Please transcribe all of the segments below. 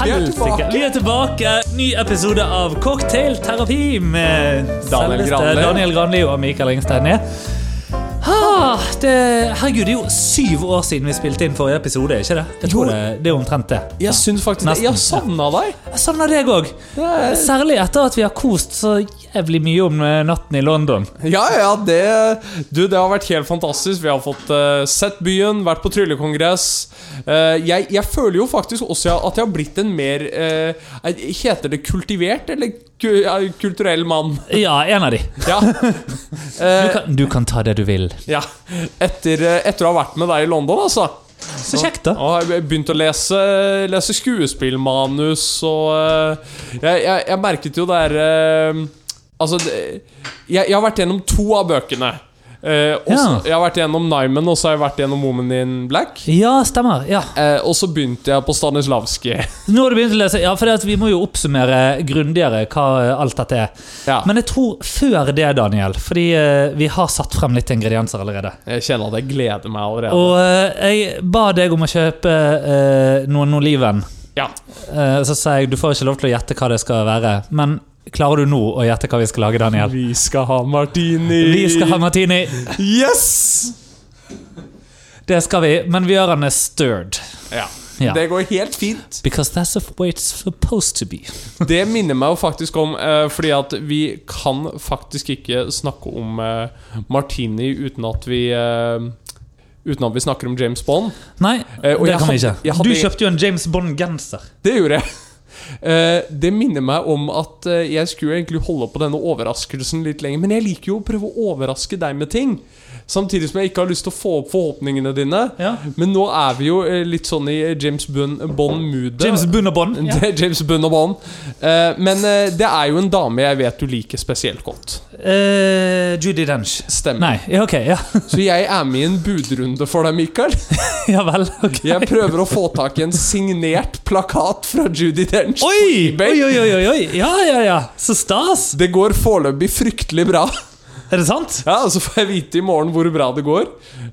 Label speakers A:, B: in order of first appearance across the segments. A: Helsike. eh, Vi er tilbake. Ny episode av Cocktailterapi med
B: Daniel
A: selveste
B: Granli.
A: Daniel Granli og Mikael Engstein. Ja. Ah, det, herregud, det er jo syv år siden vi spilte inn forrige episode. ikke det? Jeg tror
B: Jo.
A: det, det er omtrent det.
B: Jeg syns faktisk det.
A: Nesten.
B: Jeg har savna deg.
A: Jeg savner deg òg.
B: Det er-
A: Særlig etter at vi har kost så jævlig mye om eh, natten i London.
B: Ja, ja, det Du, det har vært helt fantastisk. Vi har fått eh, sett byen, vært på tryllekongress. Eh, jeg, jeg føler jo faktisk også at jeg har blitt en mer eh, Heter det kultivert, eller ku, eh, kulturell mann?
A: Ja, en av de.
B: Ja.
A: Du
B: Eh,
A: kan, du kan ta det du vil.
B: ja. Etter, eh, etter å ha vært med deg i London, altså.
A: Så kjekt, da.
B: Og jeg begynte å lese, lese skuespillmanus, og eh, jeg, jeg, jeg merket jo der eh, Altså, det, jeg, jeg har vært gjennom to av bøkene. Eh, og så- Jeg har vært gjennom Nyman, og så har jeg vært gjennom Woman in Black.
A: Ja, stemmer. ja
B: Eh, og så begynte jeg på Stanislavskij.
A: Nå har du begynt å lese, ja, for det at vi må jo oppsummere grundigere hva eh, alt dette er.
B: Ja,
A: Men jeg tror før det, Daniel, fordi eh, vi har satt frem litt ingredienser allerede.
B: jeg kjenner at jeg gleder meg allerede.
A: Og eh, jeg ba deg om å kjøpe eh, noen oliven.
B: ja.
A: Eh, så sa jeg du får ikke lov til å gjette hva det skal være. Men klarer du nå å gjette hva vi skal lage, Daniel?
B: Vi skal ha martini!
A: Vi skal ha martini.
B: Yes!
A: Det skal vi, men vi gjør den stirred.
B: Ja.
A: Ja.
B: Det går helt fint.
A: Because that's the way it's supposed to be.
B: Det minner meg jo faktisk om eh, Fordi at vi kan faktisk ikke snakke om eh, Martini uten at vi eh, Uten at vi snakker om James Bond.
A: Nei,
B: Eh, og
A: det
B: jeg
A: kan vi
B: hadde- jeg
A: ikke.
B: hadde-
A: Du kjøpte jo en James Bond-genser.
B: Det gjorde jeg. Eh, det minner meg om at eh, jeg skulle egentlig holde på denne overraskelsen litt lenger. Men jeg liker jo å prøve å overraske deg med ting. Samtidig som jeg ikke har lyst til å få opp forhåpningene dine.
A: Ja.
B: Men nå er vi jo eh, litt sånn i James Bond-moodet.
A: James Bond og Bond.
B: Det er James Bond og Bond. Eh, men eh, det er jo en dame jeg vet du liker spesielt godt.
A: Eh, Judy Dench.
B: Stemmer.
A: Nei, ja, ok. Ja,
B: Så jeg er med i en budrunde for deg, Mikael.
A: ja vel. ok
B: Jeg prøver å få tak i en signert plakat fra Judy Dench.
A: Oi! Oi, oi, oi, oi, oi! Ja, ja, ja. Så stas!
B: Det går foreløpig fryktelig bra.
A: Er det sant?
B: Ja, Så får jeg vite i morgen hvor bra det går.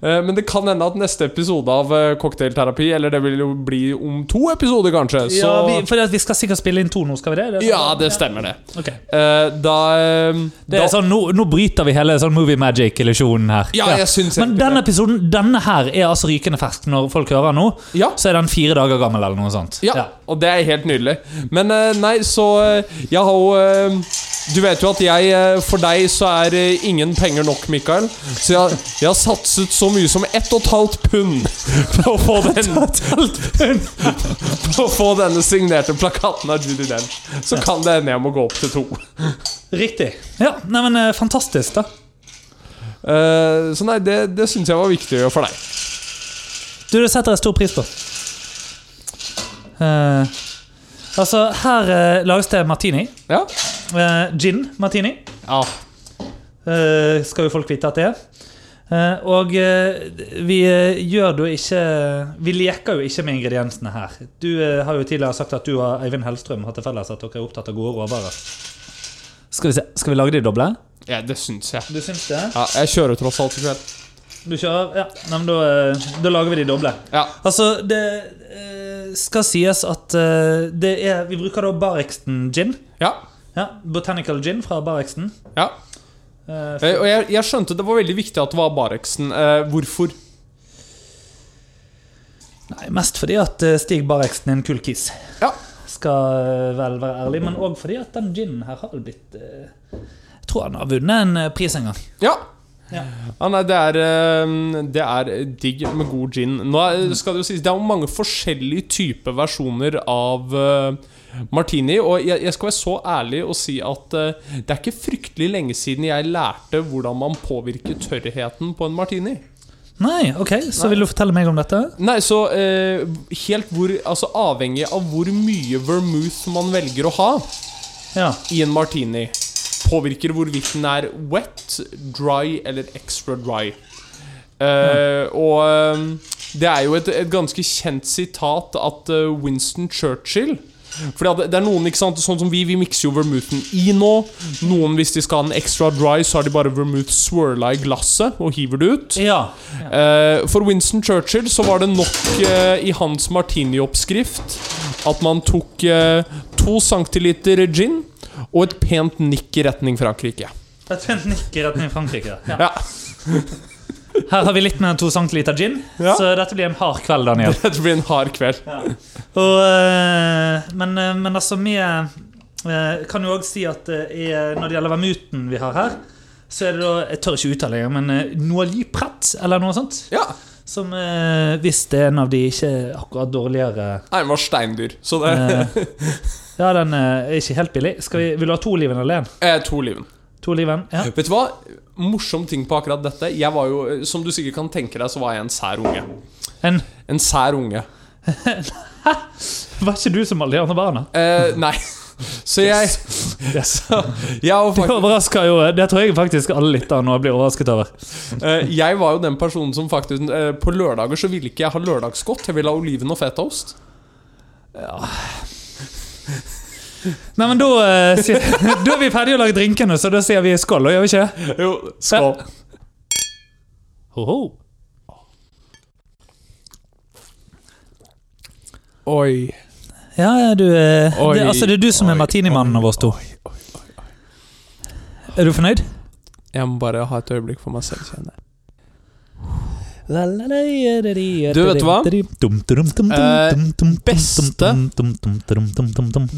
B: Eh, Men det kan hende at neste episode av eh, Cocktailterapi, eller det vil jo bli om to episoder, kanskje, så
A: Ja, vi, for at vi skal sikkert spille inn to nå, skal vi det? Er det
B: Ja, det stemmer, det.
A: Ok.
B: Eh, Da, eh,
A: Det
B: da
A: er sånn, nå, nå bryter vi hele sånn movie magic-illusjonen her.
B: Ja, jeg syns
A: Men
B: egentlig
A: denne episoden denne her er altså rykende fersk når folk hører den nå.
B: Ja.
A: Så er den fire dager gammel eller noe sånt.
B: Ja, og det er helt nydelig. Men eh, nei, så eh, Jeg har jo eh, Du vet jo at jeg eh, For deg så er eh, ingen penger nok, Mikael. Så jeg, jeg har satset så mye som ett og et halvt pund på å få, den, på å få denne signerte plakaten av Judy Dench. Så kan det hende jeg må gå opp til to.
A: Riktig. Ja, nei, men eh, Fantastisk, da.
B: Eh, så nei, det, det syns jeg var viktig å gjøre for deg.
A: Du, det setter jeg stor pris på. Eh, altså, her eh, lages det martini.
B: Ja?
A: Eh, gin martini.
B: ja.
A: eh, skal jo folk vite at det er. Eh, og eh, vi eh, gjør da ikke Vi leker jo ikke med ingrediensene her. Du eh, har jo tidligere sagt at du og Eivind Hellstrøm har til felles at dere er opptatt av gode råvarer. Skal vi, se, skal vi lage de doble?
B: ja det syns jeg.
A: Du syns det?
B: Ja, jeg kjører tross alt i kveld.
A: Du kjører? Ja, nei, men da, eh, da lager vi de doble.
B: Ja.
A: Altså, det eh, skal sies at eh, det er Vi bruker da Barexton gin.
B: Ja.
A: Ja, Botanical gin fra Barexton.
B: ja.
A: Eh,
B: Eh, Og jeg, jeg skjønte det var veldig viktig at det var Bareksen. Eh, hvorfor?
A: Nei, Mest fordi at eh, Stig Barexton er en kul kis.
B: Ja.
A: Skal eh, vel være ærlig, men òg fordi at den ginen her har blitt eh, Jeg tror han har vunnet en eh, pris en gang.
B: Ja.
A: Ja.
B: Ah, nei, det er, eh, det er digg med god gin. Nå er- skal Det jo sies Det er jo mange forskjellige typer versjoner av eh, martini. Og jeg, jeg skal være så ærlig og si at eh, det er ikke fryktelig lenge siden jeg lærte hvordan man påvirker tørrheten på en martini.
A: Nei, ok, så
B: Nei.
A: vil du fortelle meg om dette?
B: Nei, så eh, helt hvor Altså avhengig av hvor mye vermouth man velger å ha
A: Ja.
B: i en martini, påvirker hvorvidt den er wet, dry eller extra dry. Eh, Og eh, det er jo et, et ganske kjent sitat at eh, Winston Churchill fordi at det- det er noen, ikke sant, sånn som Vi vi mikser jo vermouthen i nå. Noen hvis de skal ha den extra dry, så har de bare vermouth swirla i glasset og hiver det ut.
A: ja.
B: Eh, for Winston Churchill så var det nok eh, i hans martini-oppskrift at man tok eh, to centiliter gin og et pent nikk i retning Frankrike.
A: Et pent nikk i retning Frankrike. Ja.
B: Ja,
A: Her har vi litt mer enn to centiliter gin,
B: Ja.
A: så dette blir en hard kveld, Daniel.
B: Dette blir en hard kveld.
A: Og, eh, men, eh, men altså, vi eh, kan jo òg si at eh, i, eh, når det gjelder vermuten vi har her, så er det da Jeg tør ikke uttale det, men eh, Noailly Prat, eller noe sånt.
B: Ja,
A: Som eh, hvis det er en av de ikke akkurat dårligere
B: Nei, den var steindyr, så det
A: eh, Ja, den eh, er ikke helt billig. Skal vi, vil du ha to Liven eller én?
B: er to liven.
A: To Liven? Ja.
B: Vet du hva? Morsom ting på akkurat dette. Jeg var jo, eh, Som du sikkert kan tenke deg, så var jeg en sær unge.
A: En,
B: En sær unge.
A: var ikke du som alle de andre barna?
B: Eh, nei. Så jeg så, jeg, var
A: Det
B: faktisk,
A: overrasker jo eh, Det tror jeg faktisk alle lyttere nå blir overrasket over.
B: eh, jeg var jo den personen som faktisk eh, På lørdager så ville ikke jeg ha lørdagsgodt. Jeg ville ha oliven og fetaost.
A: Nei, men da, eh, sier, da er vi ferdige å lage drinkene, så da sier vi skål, og gjør vi ikke?
B: Jo, skål.
A: Ho, ho.
B: Oi.
A: Ja, ja, du eh,
B: Oi,
A: det, Altså, det er du som
B: oi,
A: er martinimannen av oss to. Er du fornøyd?
B: Jeg må bare ha et øyeblikk for meg selv, kjenner jeg.
A: Du,
B: Du, vet du hva? Eh, beste-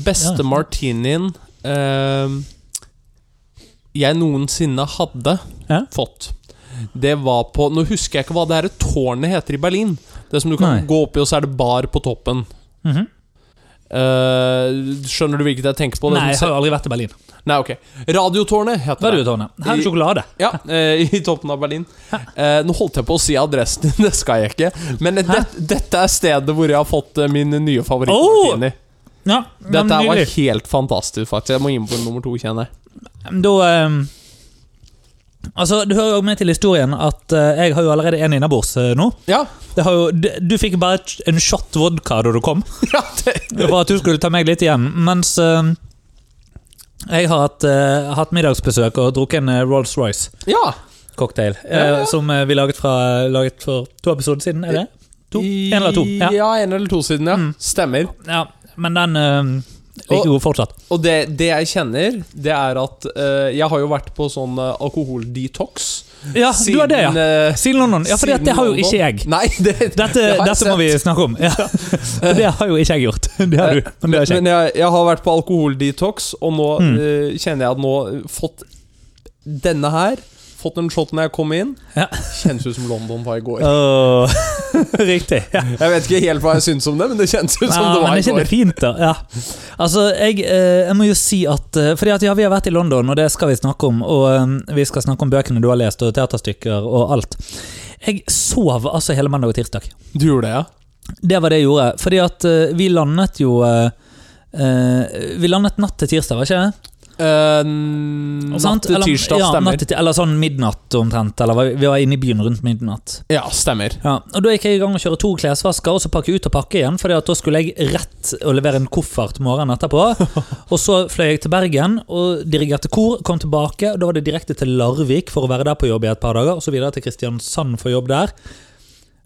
B: Beste martinien eh, jeg noensinne hadde
A: Ja.
B: fått, det var på Nå husker jeg ikke hva det her tårnet heter i Berlin. Det som du kan
A: Nei.
B: gå opp i, og så er det bar på toppen.
A: Mhm.
B: Eh, skjønner du hvilket jeg tenker på? Det
A: Nei, jeg
B: som
A: har jo aldri vært i Berlin.
B: ser- Nei, ok. Radiotårnet heter
A: Hva er
B: det.
A: du, Tone? Her er det sjokolade.
B: Ja, eh, i toppen av Berlin. Eh, nå holdt jeg på å si adressen, det skal jeg ikke. Men det, dette er stedet hvor jeg har fått eh, min nye
A: Oh!
B: favorittmartini.
A: Ja, men
B: Dette her var
A: nydelig.
B: helt fantastisk, faktisk. Jeg må inn på nummer to, kjenner jeg.
A: Da eh, Altså, Du hører jo med til historien at eh, jeg har jo allerede en innabords eh, nå.
B: Ja,
A: Det har jo, du, du fikk bare et- en shot vodka da du kom,
B: ja det,
A: for at du skulle ta meg litt igjen. Mens eh, jeg har hatt, eh, hatt middagsbesøk og drukket en eh, Rolls-Royce-cocktail.
B: ja.
A: eh,
B: Ja, ja.
A: Som eh, vi laget, fra, laget for to episoder siden, er det? To?
B: I-
A: En eller to?
B: Ja,
A: Ja.
B: en eller to siden, ja.
A: Mm.
B: Stemmer.
A: ja men den eh,
B: Og-
A: liker jo fortsatt.
B: Og det, det jeg kjenner, det er at eh, jeg har jo vært på sånn eh, alkoholdetox.
A: Ja, Ah, du har det, ja.
B: eh,
A: Siden London. Ja, for
B: siden
A: det har jo
B: London.
A: ikke jeg.
B: Nei, det,
A: Dette,
B: det har jeg
A: dette
B: sett.
A: må
B: Eh,
A: vi snakke om. Ja. For Det har jo ikke jeg gjort. Det har du. Men det har ikke jeg.
B: Men jeg, jeg har vært på alkoholdetox, og nå
A: Mm.
B: eh, kjenner jeg at nå eh, fått denne her. Fått den shoten når jeg kom inn.
A: Ja.
B: Kjennes ut som London var i går.
A: Åh, Riktig. Ja.
B: Jeg vet ikke helt hva jeg syns om det, men det kjennes ut som
A: Ja,
B: det
A: men
B: var i
A: er ikke det
B: går.
A: fint, da? Ja. Altså, jeg, eh, jeg må jo si at eh, Fordi at ja, vi har vært i London, og det skal vi snakke om. Og eh, vi skal snakke om bøkene du har lest, og teaterstykker og alt. Jeg sov altså hele mandag og tirsdag.
B: Du gjorde det, ja?
A: Det var det jeg gjorde. Fordi at eh, vi landet jo eh, eh, Vi landet natt til tirsdag, var ikke det?
B: Eh, natt
A: Sant?
B: til
A: Eller-
B: tirsdag,
A: ja,
B: stemmer.
A: natt til- eller sånn midnatt omtrent. Eller vi var inne i byen rundt midnatt.
B: Ja, stemmer.
A: Ja, og Da gikk jeg i gang å kjøre to klesvasker og så pakke ut og pakke igjen. Fordi at da skulle jeg rett å levere en koffert morgenen etterpå. Og Så fløy jeg til Bergen og dirigerte kor, kom tilbake. og Da var det direkte til Larvik for å være der på jobb i et par dager. Og så videre til Kristiansand for jobb der.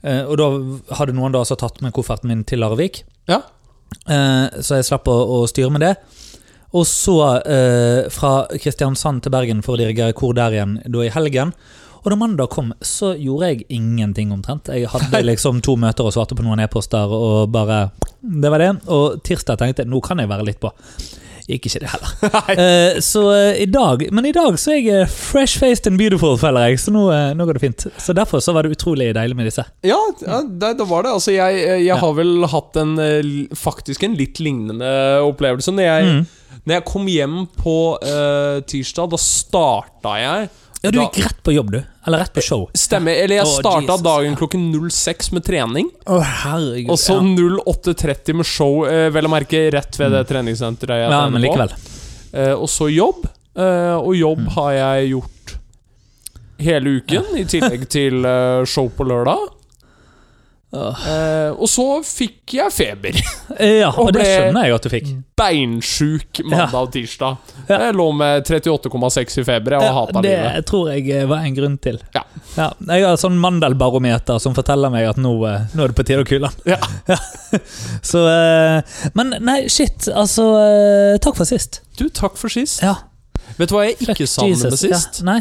A: Eh, og da hadde noen da altså tatt med kofferten min til Larvik.
B: Ja.
A: Eh, så jeg slapp å, å styre med det. Og så eh, fra Kristiansand til Bergen for å dirigere kor der igjen da i helgen. Og da mandag kom, så gjorde jeg ingenting omtrent. Jeg hadde liksom to møter og svarte på noen e-poster og bare Det var det. Og tirsdag tenkte jeg nå kan jeg være litt på. Gikk ikke det heller. Eh, så eh, i dag Men i dag så er jeg eh, fresh-faced and beautiful, føler jeg. Så nå, eh, nå går det fint. Så derfor så var det utrolig deilig med disse.
B: Ja, ja det, det var det. Altså, jeg, jeg har vel hatt en eh, l- faktisk en litt lignende opplevelse. Når jeg,
A: Mm.
B: når jeg kom hjem på eh, tirsdag, da starta jeg
A: Ja, du
B: da-
A: gikk rett på jobb, du. Eller rett på show.
B: Stemmer. Eller jeg
A: Å,
B: starta
A: Jesus,
B: dagen klokken 06 med trening,
A: Å, herregud.
B: og sånn så 08.30 med show, eh, vel å merke rett ved det treningssenteret jeg
A: Mm. ja,
B: trener
A: men
B: på.
A: likevel. Mm.
B: Eh, og så jobb. eh, og jobb har jeg gjort hele uken, i tillegg til eh, show på lørdag.
C: Åh.
B: Eh, og så fikk jeg feber.
A: Eh, Ja, og,
B: Og
A: det
B: ble-
A: skjønner jeg at du fikk.
B: Beinsjuk mandag og tirsdag.
A: Ja.
B: Jeg lå med 38,6 i feber og hata
A: det
B: livet.
A: tror jeg eh, var en grunn til.
B: Ja.
A: jeg har sånn mandelbarometer som forteller meg at nå, eh, nå er det på tide å kule den.
B: Ja.
A: Så eh, Men nei, shit. Altså, eh, takk for sist.
B: Du, takk for sist.
A: Ja.
B: Vet du hva jeg ikke
A: Fuck
B: savner med
A: Jesus. Ja,
B: sist?
A: nei.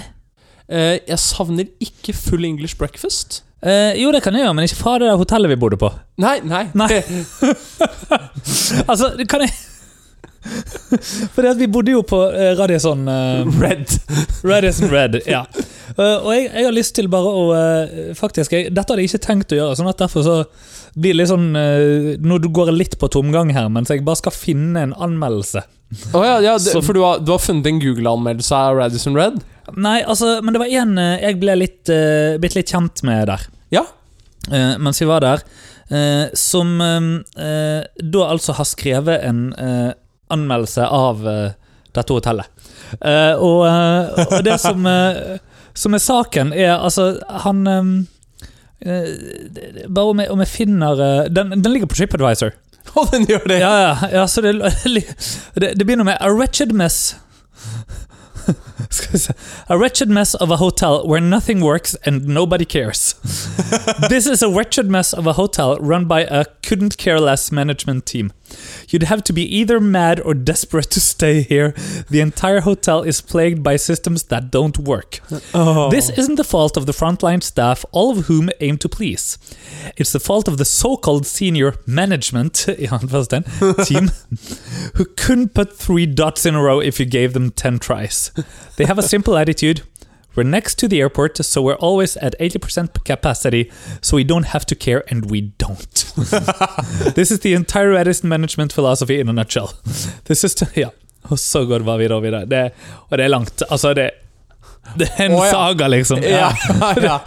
B: Eh, jeg savner ikke full English breakfast.
A: Eh, jo, det kan jeg gjøre, men ikke fra det der hotellet vi bodde på.
B: Nei, nei.
A: Nei. Altså, det kan jeg Fordi at vi bodde jo på eh, Radisson eh,
B: Red.
A: Radisson Red, ja. Eh, og jeg, jeg har lyst til bare å eh, Faktisk, jeg, Dette hadde jeg ikke tenkt å gjøre, sånn at derfor så blir det litt sånn eh, Nå går jeg litt på tomgang her, mens jeg bare skal finne en anmeldelse.
B: Å ja, ja det,
A: Som-
B: for du har, du har funnet en Google-anmeldelse av Radisson Red?
A: Nei, altså, men det var én jeg ble litt, eh, blitt litt kjent med der.
B: Ja.
A: eh, mens vi var der, eh, som eh, eh, da altså har skrevet en eh, anmeldelse av eh, dette hotellet. Eh, og, eh, og det som, eh, som er saken, er altså Han eh, eh, det- det- Bare om jeg, om jeg finner eh, den, den ligger på TripAdvisor.
B: Og den gjør det.
A: Ja, ja, ja så det, det, det begynner med A wretched mess Skal vi se A wretched mess of a hotel where nothing works and nobody cares This is a wretched mess of a hotel run by a couldn't care less management team You'd have to be either mad or desperate to stay here The entire hotel is plagued by systems that don't work
B: Oh.
A: this isn't the fault of the frontline staff, all of whom aim to please. It's the fault of the so called senior management i anførselstegn, team, who couldn't put three dots in a row if you gave them 10 tries. They have a simple attitude we're next to the airport, so we're always at 80% capacity, so we don't have to care, and we don't. this is the entire Radisson management philosophy in a nutshell. This is ja. Og så går vi da videre. Det, og det er langt. Altså, det, det er en
B: Å, ja.
A: saga, liksom.
B: Ja,
A: Ja.
B: ja, ja.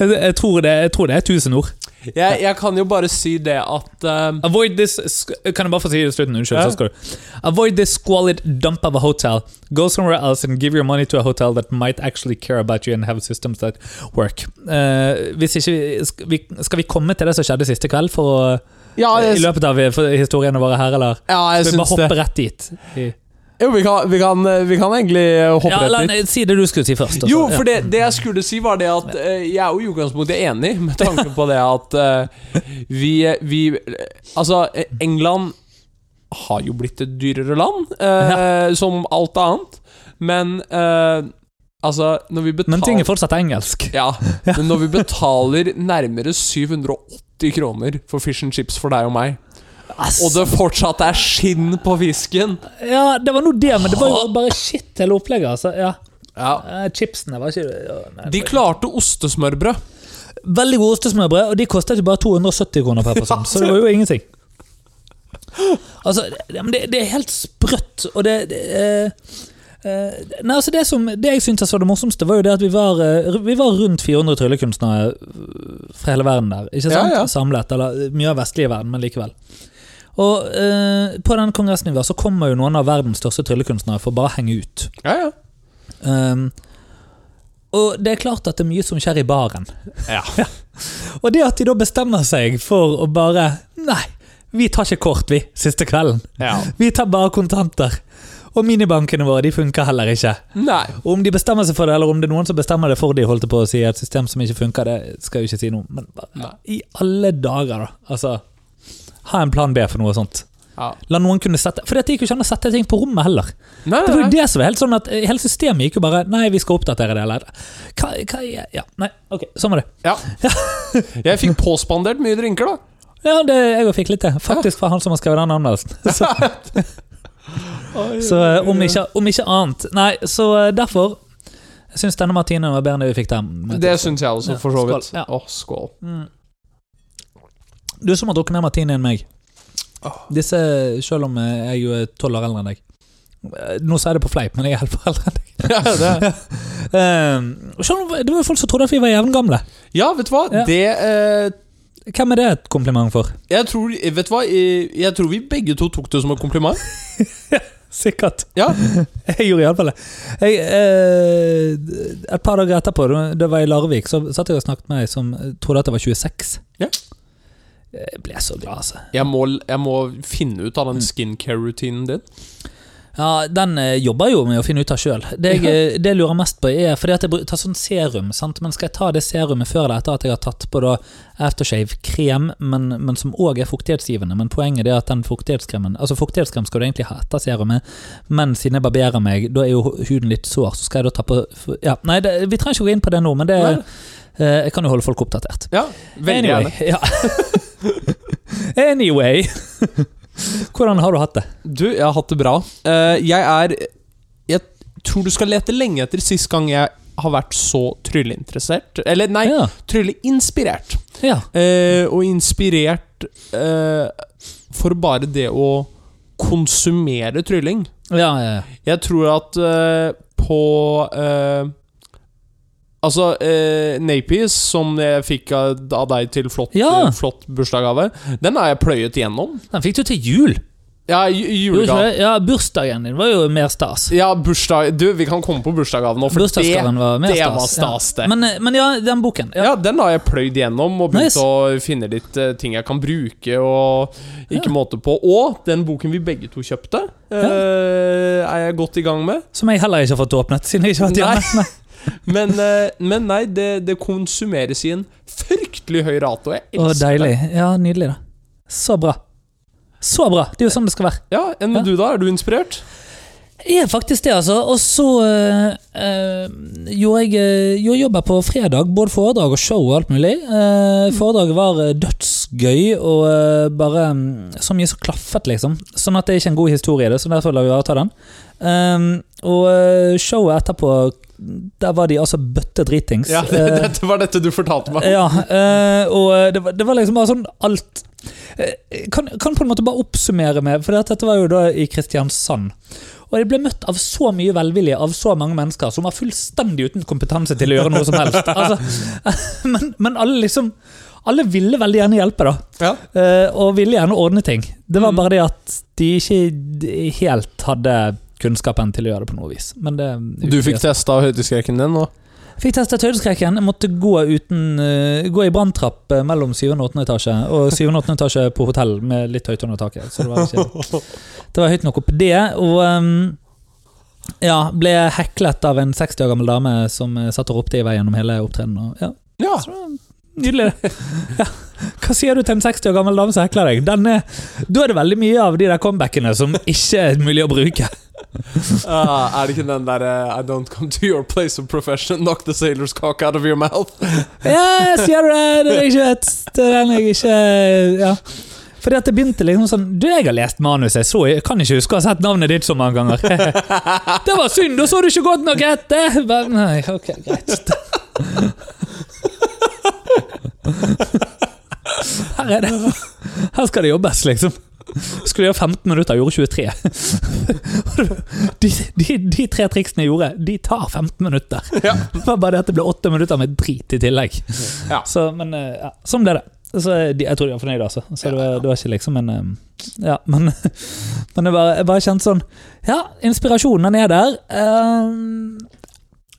A: Jeg, jeg, tror det, jeg tror det er tusen ord.
B: Jeg, jeg kan jo bare si det at eh,
A: Avoid this sk- Kan jeg bare få si det i slutten? Unnskyld.
B: Ja.
A: så skal du Avoid this squalid dump of a hotel. Go somewhere else and give your money to a hotel that might actually care about you and have systems that work. Eh, hvis ikke vi- sk- vi, Skal vi komme til det som skjedde siste kveld for å,
B: Ja,
A: i
B: Ah, jeg,
A: løpet av eh, for historiene våre her, eller?
B: ja, jeg
A: Skal vi bare
B: syns det.
A: hoppe rett dit?
B: Jo, vi kan, vi kan, vi kan egentlig eh, hoppe
A: Ja, la,
B: rett dit.
A: nei, si det du skulle si først. altså.
B: Jo,
A: Ja.
B: for det, det jeg skulle si, var det at eh, jeg er jo i utgangspunktet enig, med tanke på det at eh, vi, vi Altså, eh, England har jo blitt et dyrere land, eh, som alt annet, men eh, Altså, når vi betaler
A: Men ting er fortsatt engelsk.
B: Ja, men når vi betaler nærmere 780 kroner for fish and chips for deg og meg,
A: Ass.
B: og det fortsatt er skinn på fisken
A: Ja, det var nå det, men det var jo bare shit hele opplegget. Altså. Ja.
B: ja.
A: Eh, Chipsene var ikke ja, nei,
B: De klarte ostesmørbrød.
A: Veldig gode ostesmørbrød, og de kostet ikke bare 270 kroner per person.
B: Ja,
A: Så det var jo ingenting. Altså, det, men det, det er helt sprøtt, og det, det eh, eh, Nei, altså det, som, det jeg syntes var det morsomste, var jo det at vi var, eh, ru- vi var rundt 400 tryllekunstnere eh, fra hele verden der. Ikke sant?
B: Ja, ja.
A: Samlet. Eller eh, mye av vestlige verden, men likevel. Og eh, på den kongressen vi var, så kommer jo noen av verdens største tryllekunstnere for å bare å henge ut.
B: Ja, ja.
A: Um, og det er klart at det er mye som skjer i baren.
B: Ja.
A: Og det at de da bestemmer seg for å bare Nei, vi tar ikke kort, vi, siste kvelden.
B: ja.
A: Vi tar bare kontanter. Og minibankene våre de funker heller ikke.
B: Nei.
A: Og om de bestemmer seg for det, eller om det er noen som bestemmer det for de, holdt jeg på å si, et system som ikke funker, det skal jeg jo ikke si noe om. Men bare,
B: Nei.
A: i alle dager, da. Altså, ha en plan B for noe sånt.
B: Ja.
A: La noen kunne sette For det gikk jo ikke an å sette ting på rommet heller.
B: Nei,
A: Det var
B: nei,
A: jo
B: nei.
A: det som var helt sånn at eh, Hele systemet gikk jo bare Nei, vi skal oppdatere det. Eller hva, hva Ja, nei, ok, sånn var det.
B: Ja. Jeg fikk påspandert mye drinker, da.
A: Ja, det jeg òg fikk litt til. Faktisk fra han som har skrevet den anmeldelsen. Så, så eh, om, ikke, om ikke annet. Nei, så eh, derfor Jeg syns denne martinen var bedre enn det vi fikk den.
B: Det syns jeg også,
A: Ja,
B: for så vidt.
A: skål, ja.
B: Åh, skål.
A: Du som har drukket mer martini enn meg. Disse, selv om eh, jeg jo er tolv år eldre enn deg. Eh, Nå sa jeg det på fleip, men jeg er elleve år eldre enn deg.
B: Ja, det.
A: Eh, selv om, det var jo folk som trodde at vi var jevngamle.
B: ja, vet du hva?
A: Ja.
B: Det eh,
A: Hvem er det et kompliment for?
B: jeg, tror, vet du hva? Eh, jeg tror vi begge to tok det som en kompliment.
A: Sikkert.
B: Ja.
A: Jeg gjorde iallfall det. Jeg, eh, et par dager etterpå, da- da var jeg i Larvik, så satt jeg og snakket med ei som trodde at jeg var 26.
B: Ja.
A: Jeg ble så glad, altså.
B: Jeg må, jeg må finne ut av den skincare-rutinen din.
A: Ja, Den eh, jobber jeg jo med å finne ut av sjøl. Det, jeg, eh, det jeg lurer mest på, er fordi at jeg bru- tar sånn serum. sant? Men skal jeg ta det serumet før eller etter at jeg har tatt på da aftershave-krem, men, men som òg er fuktighetsgivende? Men poenget er at den fuktighetskremen Altså Fuktighetskrem skal du egentlig ha etter serumet, men siden jeg barberer meg, da er jo hu- huden litt sår, så skal jeg da ta på f- Ja, Nei, det, vi trenger ikke gå inn på det nå, men det,
B: Nei.
A: eh, jeg kan jo holde folk oppdatert.
B: Ja, veldig
A: anyway,
B: gjerne.
A: Ja. anyway. Hvordan har du hatt det?
B: Du, jeg har hatt det bra. Eh, jeg er Jeg tror du skal lete lenge etter sist gang jeg har vært så trylleinteressert. Eller nei,
A: Ja.
B: trylleinspirert.
A: ja.
B: Eh, og inspirert eh, for bare det å konsumere trylling.
A: Ja, ja, ja.
B: Jeg tror at eh, på eh, Altså, eh, Napies, som jeg fikk av, av deg til flott, eh,
A: Ja.
B: flott bursdagsgave, den har jeg pløyet gjennom.
A: Den fikk du til jul.
B: Ja, ju-
A: Gjorde du
B: julegave.
A: ikke det? Ja, bursdagen din var jo mer stas.
B: Ja, bursdag Du, vi kan komme på bursdagsgaven nå, for det,
A: Bursdagsgaven var mer
B: det
A: stas.
B: var stas, det.
A: Ja. Men, eh, men ja, den boken.
B: ja.
A: Ja.
B: den har jeg pløyd gjennom og begynt
A: Nice.
B: å finne litt eh, ting jeg kan bruke og ikke måte på. Og den boken vi begge to kjøpte, eh, er jeg godt i gang med.
A: Som jeg heller ikke har fått åpnet, siden jeg ikke har vært
B: Nei.
A: hjemme.
B: Men, eh, men nei, det, det konsumeres i en fryktelig høy rate, og jeg
A: Å,
B: elsker
A: deilig. Ja, nydelig, da. Så bra. Så bra. Det er jo sånn det skal være.
B: det. Ja, Enn med
A: Ja.
B: du, da? Er du inspirert?
A: Jeg er faktisk det, altså. Og så eh, eh, gjorde jeg eh, gjorde jobber på fredag. Både foredrag og show og alt mulig. Eh,
B: Mm.
A: foredraget var eh, dødsgøy og eh, bare mm, så mye som klaffet, liksom. Sånn at det er ikke en god historie i det, så derfor lar vi være å ta den. Ehm, og eh, showet etterpå, der var de altså bøtte dritings.
B: Ja, det,
A: Eh,
B: dette var dette du fortalte meg.
A: ja, eh, og det var, det var liksom bare sånn alt eh, kan, kan på en måte bare oppsummere med, for dette var jo da i Kristiansand. Og jeg ble møtt av så mye velvilje av så mange mennesker som var fullstendig uten kompetanse til å gjøre noe som helst. Altså, men, men alle liksom Alle ville veldig gjerne hjelpe, da.
B: Ja.
A: eh, Og ville gjerne ordne ting. Det var
B: Mm.
A: bare det at de ikke d- helt hadde kunnskapen til å gjøre det på noe vis. Men det
B: Du fikk testa høydeskrekken din nå?
A: Fikk testet høydeskrekken. Jeg måtte gå, uten, eh, gå i branntrapp eh, mellom 7. og 8. etasje. Og 7. og 8. etasje på hotell med litt høyt under taket. Så det var, ikke, det var høyt nok opp det. Og ehm, ja, ble heklet av en 60 år gammel dame som eh, satt og ropte i vei gjennom hele opptredenen. og Ja,
B: Ja.
A: nydelig. Ja. Hva sier du til en 60 år gammel dame som hekler deg? Den er, da er det veldig mye av de der comebackene som ikke er mulig å bruke.
B: Ah, er det ikke den derre I don't come to your place of profession, knock the sailor's cock out of your mouth?
A: Ja, sier du det? Det er ikke et det er den jeg ikke Ja. Fordi at det begynte liksom sånn Du, jeg har lest manuset, så jeg kan ikke huske å ha sett navnet ditt så mange ganger. det var synd, da så du ikke godt nok etter! Bare, Nei, ok, greit. Her er det Her skal det jobbes, liksom. Skulle gjøre 15 minutter, gjorde 23. De, de, de tre triksene jeg gjorde, de tar 15 minutter.
B: Ja.
A: Det var bare det at det ble åtte minutter med drit i tillegg.
B: Ja.
A: Så, men eh, ja, sånn ble det. Så eh, de, jeg tror de var fornøyde, altså. Så det var, det var ikke liksom en eh, Ja, men, men jeg, bare, jeg bare kjente sånn Ja, inspirasjonen den er der. Ehm,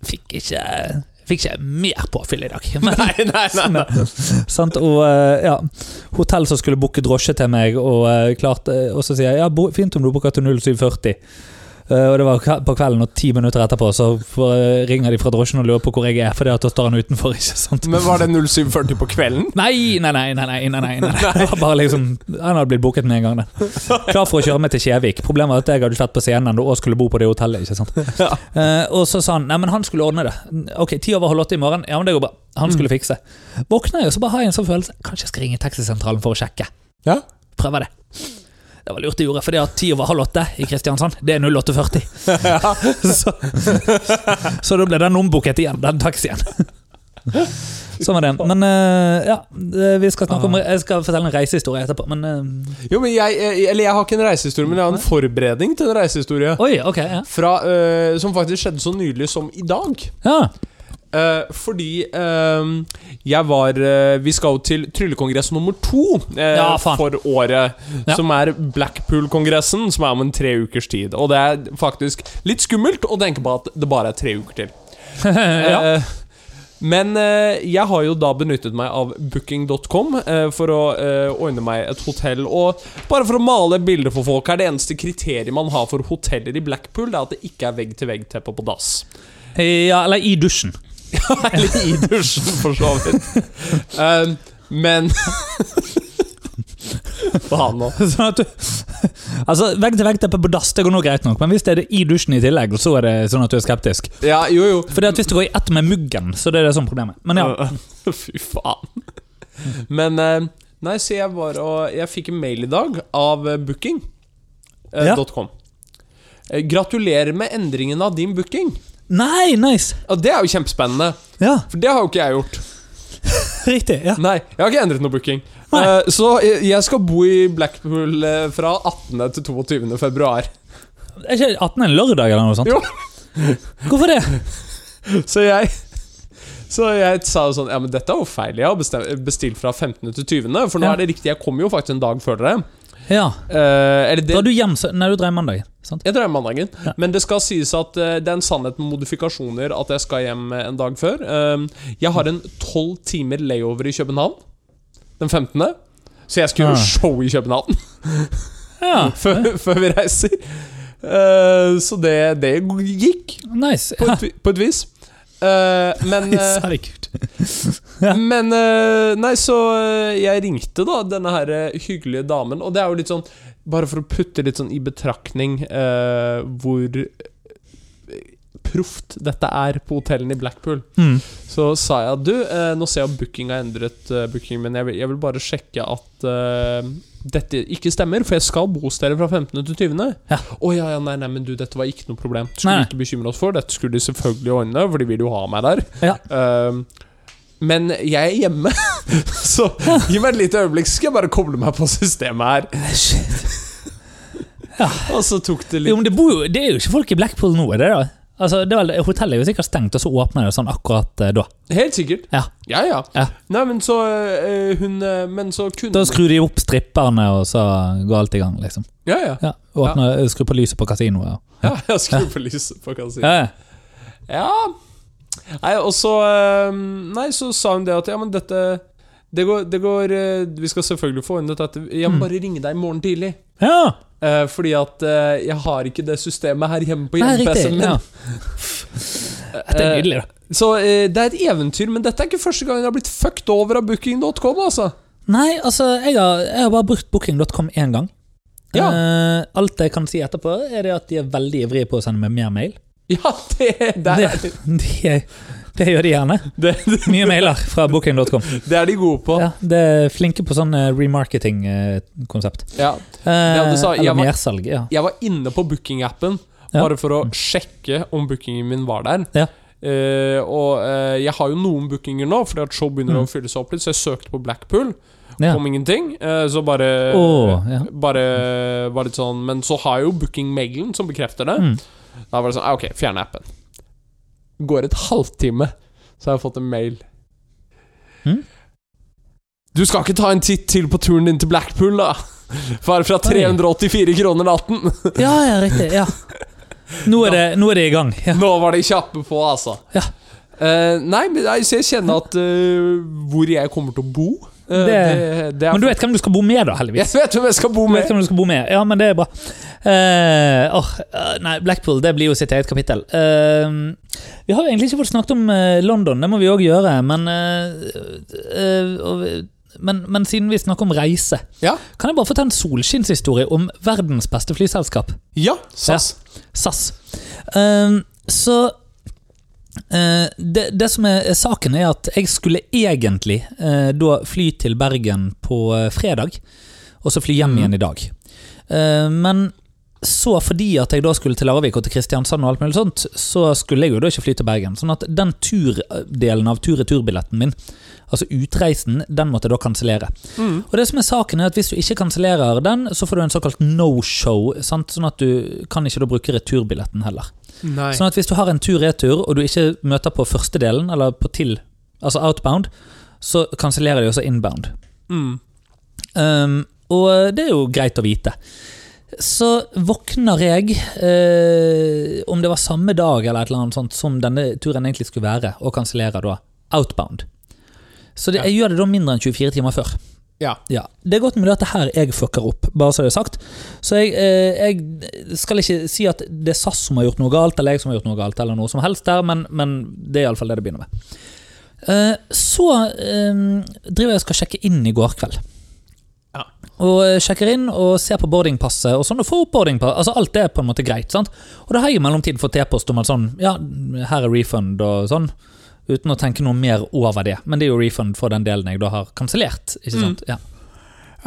A: fikk ikke Fikk ikke mer påfyll i dag. Men,
B: Nei, nei, nei. nei.
A: sant? Og eh, ja, hotell som skulle booke drosje til meg, og, eh, klart, eh, og så sier jeg ja, bo- fint om du booker til 0740. Eh, og det var kve- på kvelden, og ti minutter etterpå så får- eh, ringer de fra drosjen og lurer på hvor jeg er, for da står han utenfor. ikke sant?
B: Men var det 0740 på kvelden?
A: Nei, nei, nei, nei, nei, nei, nei, nei. Det var bare liksom, Han hadde blitt booket med en gang. Det. Klar for å kjøre meg til Kjevik. Problemet var at jeg hadde ikke vært på scenen ennå og skulle bo på det hotellet. ikke sant?
B: Ja.
A: Eh, og så sa han nei, men han skulle ordne det. Ok, Ti over halv åtte i morgen. Ja, men det går bra. Han skulle fikse. Våkner jeg, og så bare har jeg en sånn følelse Kanskje jeg skal ringe taxisentralen for å sjekke.
B: Ja.
A: Prøver det. Det var lurt jeg gjorde, for det at ti over halv åtte i Kristiansand, det er 08.40. så, så da ble den ombooket igjen, den taxien. Sånn var det. Men eh, ja, eh, vi skal snakke om Jeg skal fortelle en reisehistorie etterpå, men eh,
B: Jo, men jeg, jeg- eller jeg har ikke en reisehistorie, men jeg har en forberedning til en reisehistorie.
A: Oi, ok. Ja.
B: Fra, eh, som faktisk skjedde så nylig som i dag.
A: ja.
B: Eh, fordi eh, jeg var eh, Vi skal jo til tryllekongress nummer to eh,
A: Ja, faen.
B: for året.
A: Ja.
B: Som er Blackpool-kongressen, som er om en tre ukers tid. Og det er faktisk litt skummelt å tenke på at det bare er tre uker til.
A: ja.
B: Eh, Men eh, jeg har jo da benyttet meg av booking.com eh, for å eh, ordne meg et hotell. Og bare for å male et bilde for folk her, det eneste kriteriet man har for hoteller i Blackpool, det er at det ikke er vegg-til-vegg-teppe på dass.
A: Ja, eller i dusjen.
B: Eller i dusjen, for så vidt. Eh, men Faen nå.
A: Sånn at du, altså, Vegg til vegg teppe på dass, det går nå greit nok, men hvis det er det i dusjen i tillegg, så er det sånn at du er skeptisk.
B: Ja, jo, jo.
A: Fordi at Hvis det går i ett med muggen, så det er det sånn problemet. Men ja,
B: Fy faen. Men eh, Nei, så jeg var og Jeg fikk en mail i dag av eh,
A: Ja.
B: booking.com. Eh, Gratulerer med endringen av din booking.
A: Nei, nice!
B: Ja, det er jo kjempespennende,
A: Ja,
B: for det har jo ikke jeg gjort.
A: Riktig. ja
B: Nei, jeg har ikke endret noe booking.
A: Nei.
B: Eh, så jeg jeg skal bo i Blackpool eh, fra 18. til 22. februar.
A: Er ikke 18 en lørdag eller noe sånt?
B: Jo.
A: Hvorfor det?
B: Så jeg Så jeg sa jo sånn Ja, men dette er jo feil. Jeg har bestem- bestilt fra 15. til 20., for nå
A: Ja.
B: er det riktig. Jeg kommer jo faktisk en dag før dere.
A: Ja,
B: Eh, eller det,
A: Drar du hjem sø- Nei, du drar hjem mandag. Sant?
B: Jeg drar hjem mandagen. Men det skal sies at eh, det er en sannhet med modifikasjoner at jeg skal hjem eh, en dag før. Um, jeg har en tolv timer layover i København den 15. Så jeg skulle
A: Ah.
B: jo show i København
A: Ja,
B: før, før vi reiser. Eh, så det, det gikk,
A: nice.
B: på et, vi- på et vis. Eh, men eh,
A: Herregud.
B: Men eh, Nei, så eh, jeg ringte da denne her eh, hyggelige damen, og det er jo litt sånn Bare for å putte litt sånn i betraktning eh, hvor eh, proft dette er på hotellene i Blackpool,
A: Mm.
B: så sa jeg du, eh, nå ser jeg at booking har endret eh, booking, men jeg vil, jeg vil bare sjekke at eh, dette ikke stemmer, for jeg skal bo hos dere fra 15. til 20.
A: Ja.
B: Å ja, ja, nei, nei, men du, dette var ikke noe problem. Skulle
A: Nei.
B: ikke bekymre oss for, dette skulle de selvfølgelig ordne, for de vil jo ha meg der.
A: Ja.
B: Ehm, men jeg er hjemme, så gi meg et lite øyeblikk, så skal jeg bare koble meg på systemet her.
A: Shit.
B: Og så tok det
A: Jo,
B: litt
A: men det, bor jo, det er jo ikke folk i Blackpool nå, er det da? Altså, det er vel, hotellet er jo sikkert stengt, og så åpner det sånn akkurat eh, da.
B: Helt sikkert.
A: Ja.
B: Ja, ja.
A: Ja.
B: Nei, men så eh, hun eh, Men så kunne
A: Da skrur de opp stripperne, og så går alt i gang, liksom.
B: Ja, ja.
A: Ja, åpner, eh, Skrur på lyset på kasinoet. og-
B: ja jeg skrur på lyset, for hva jeg sier.
A: Ja, ja.
B: Ja. Nei, og så eh, Nei, så sa hun det at ja, men dette Det går, det går eh, Vi skal selvfølgelig få ordnet dette. Jeg
A: Mm.
B: må bare ringe deg i morgen tidlig.
A: ja.
B: Eh, fordi at eh, jeg har ikke det systemet her hjemme på
A: Nei,
B: hjemme-PC-en
A: riktig.
B: min. Eh,
A: Ja. Det er nydelig, da.
B: Så eh, det er et eventyr, men dette er ikke første gang jeg har blitt fucked over av booking.com. altså
A: Nei, altså, jeg har, jeg har bare brukt booking.com én gang.
B: Ja.
A: Eh, alt jeg kan si etterpå, er det at de er veldig ivrige på å sende meg mer mail.
B: Ja, det, det, er,
A: Det, de, det gjør de gjerne.
B: det,
A: Mye mailer fra booking.com.
B: det er de gode på. Ja,
A: Ja, de er flinke på sånn eh, remarketing-konsept.
B: Ja, du sa- jeg
A: Eh, eller
B: var-
A: mersalg, ja.
B: Jeg var inne på booking-appen
A: Ja.
B: bare for å sjekke om bookingen min var der.
A: Ja.
B: Eh, og eh, jeg har jo noen bookinger nå, fordi at show begynner å fylle seg opp litt, så jeg søkte på Blackpool.
A: Mm. ja.
B: Kom ingenting. eh, så bare
A: Åh, ja.
B: Bare var litt sånn Men så har jeg jo booking-mailen som bekrefter det.
A: Mm.
B: Da var det sånn ah, Ok, fjerne appen. Går et halvtime, så har jeg fått en mail.
A: Mm.
B: Du skal ikke ta en titt til på turen din til Blackpool, da? Bare fra 384 kroner natten!
A: ja, ja, riktig. Ja. Nå er det, nå er det i gang. Ja.
B: Nå var de kjappe på, altså.
A: Ja.
B: Eh, nei, men nei, så jeg kjenner at eh, hvor jeg kommer til å bo eh,
A: Det-
B: det er
A: Men du vet hvem du skal bo med, da, heldigvis.
B: Jeg vet hvem jeg skal bo
A: Du vet
B: med!
A: hvem du skal bo med. Ja, men det er bra. Eh, åh, eh, nei, Blackpool det blir jo sitt eget kapittel. Eh, vi har jo egentlig ikke fått snakket om eh, London, det må vi òg gjøre. Men, eh, eh, og- men, men siden vi snakker om reise,
B: Ja.
A: kan jeg bare få ta en solskinnshistorie om verdens beste flyselskap,
B: Ja, SAS.
A: SAS. Eh, så eh, det, det som er er saken, er at jeg skulle egentlig eh, da fly til Bergen på eh, fredag, og så fly hjem
B: Mhm.
A: igjen i dag. Eh, men så fordi at jeg da skulle til Larvik og til Kristiansand og alt mulig sånt, så skulle jeg jo da ikke fly til Bergen. Sånn at den turdelen av tur-retur-billetten min, altså utreisen, den måtte jeg da kansellere.
B: Mm.
A: Og det som er saken er at hvis du ikke kansellerer den, så får du en såkalt no-show, sant? sånn at du kan ikke da bruke returbilletten heller.
B: Nei.
A: Sånn at hvis du har en tur-retur, og du ikke møter på første delen, eller på til, altså outbound, så kansellerer de også inbound.
B: Mm.
A: Um, og det er jo greit å vite. Så våkner jeg, eh, om det var samme dag eller et eller annet sånt, som denne turen egentlig skulle være, og kansellerer da outbound. Så det, jeg gjør det da mindre enn 24 timer før.
B: Ja.
A: Ja, Det er godt med dette her jeg fucker opp, bare så det er sagt. Så jeg, eh, jeg skal ikke si at det er SAS som har gjort noe galt, eller jeg som har gjort noe galt, eller noe som helst der, men, men det er iallfall det det begynner med. Eh, så eh, driver jeg og skal sjekke inn i går kveld.
B: Ja.
A: Og eh, sjekker inn og ser på boardingpasset og sånn, og får opp boardingpasset. Altså, alt er på en måte greit, sant? Og da har jeg i mellomtiden fått e-post om at sånn, ja, her er refund og sånn. Uten å tenke noe mer over det. Men det er jo refund for den delen jeg da har kansellert.
B: Mm.
A: Ikke sant? Ja.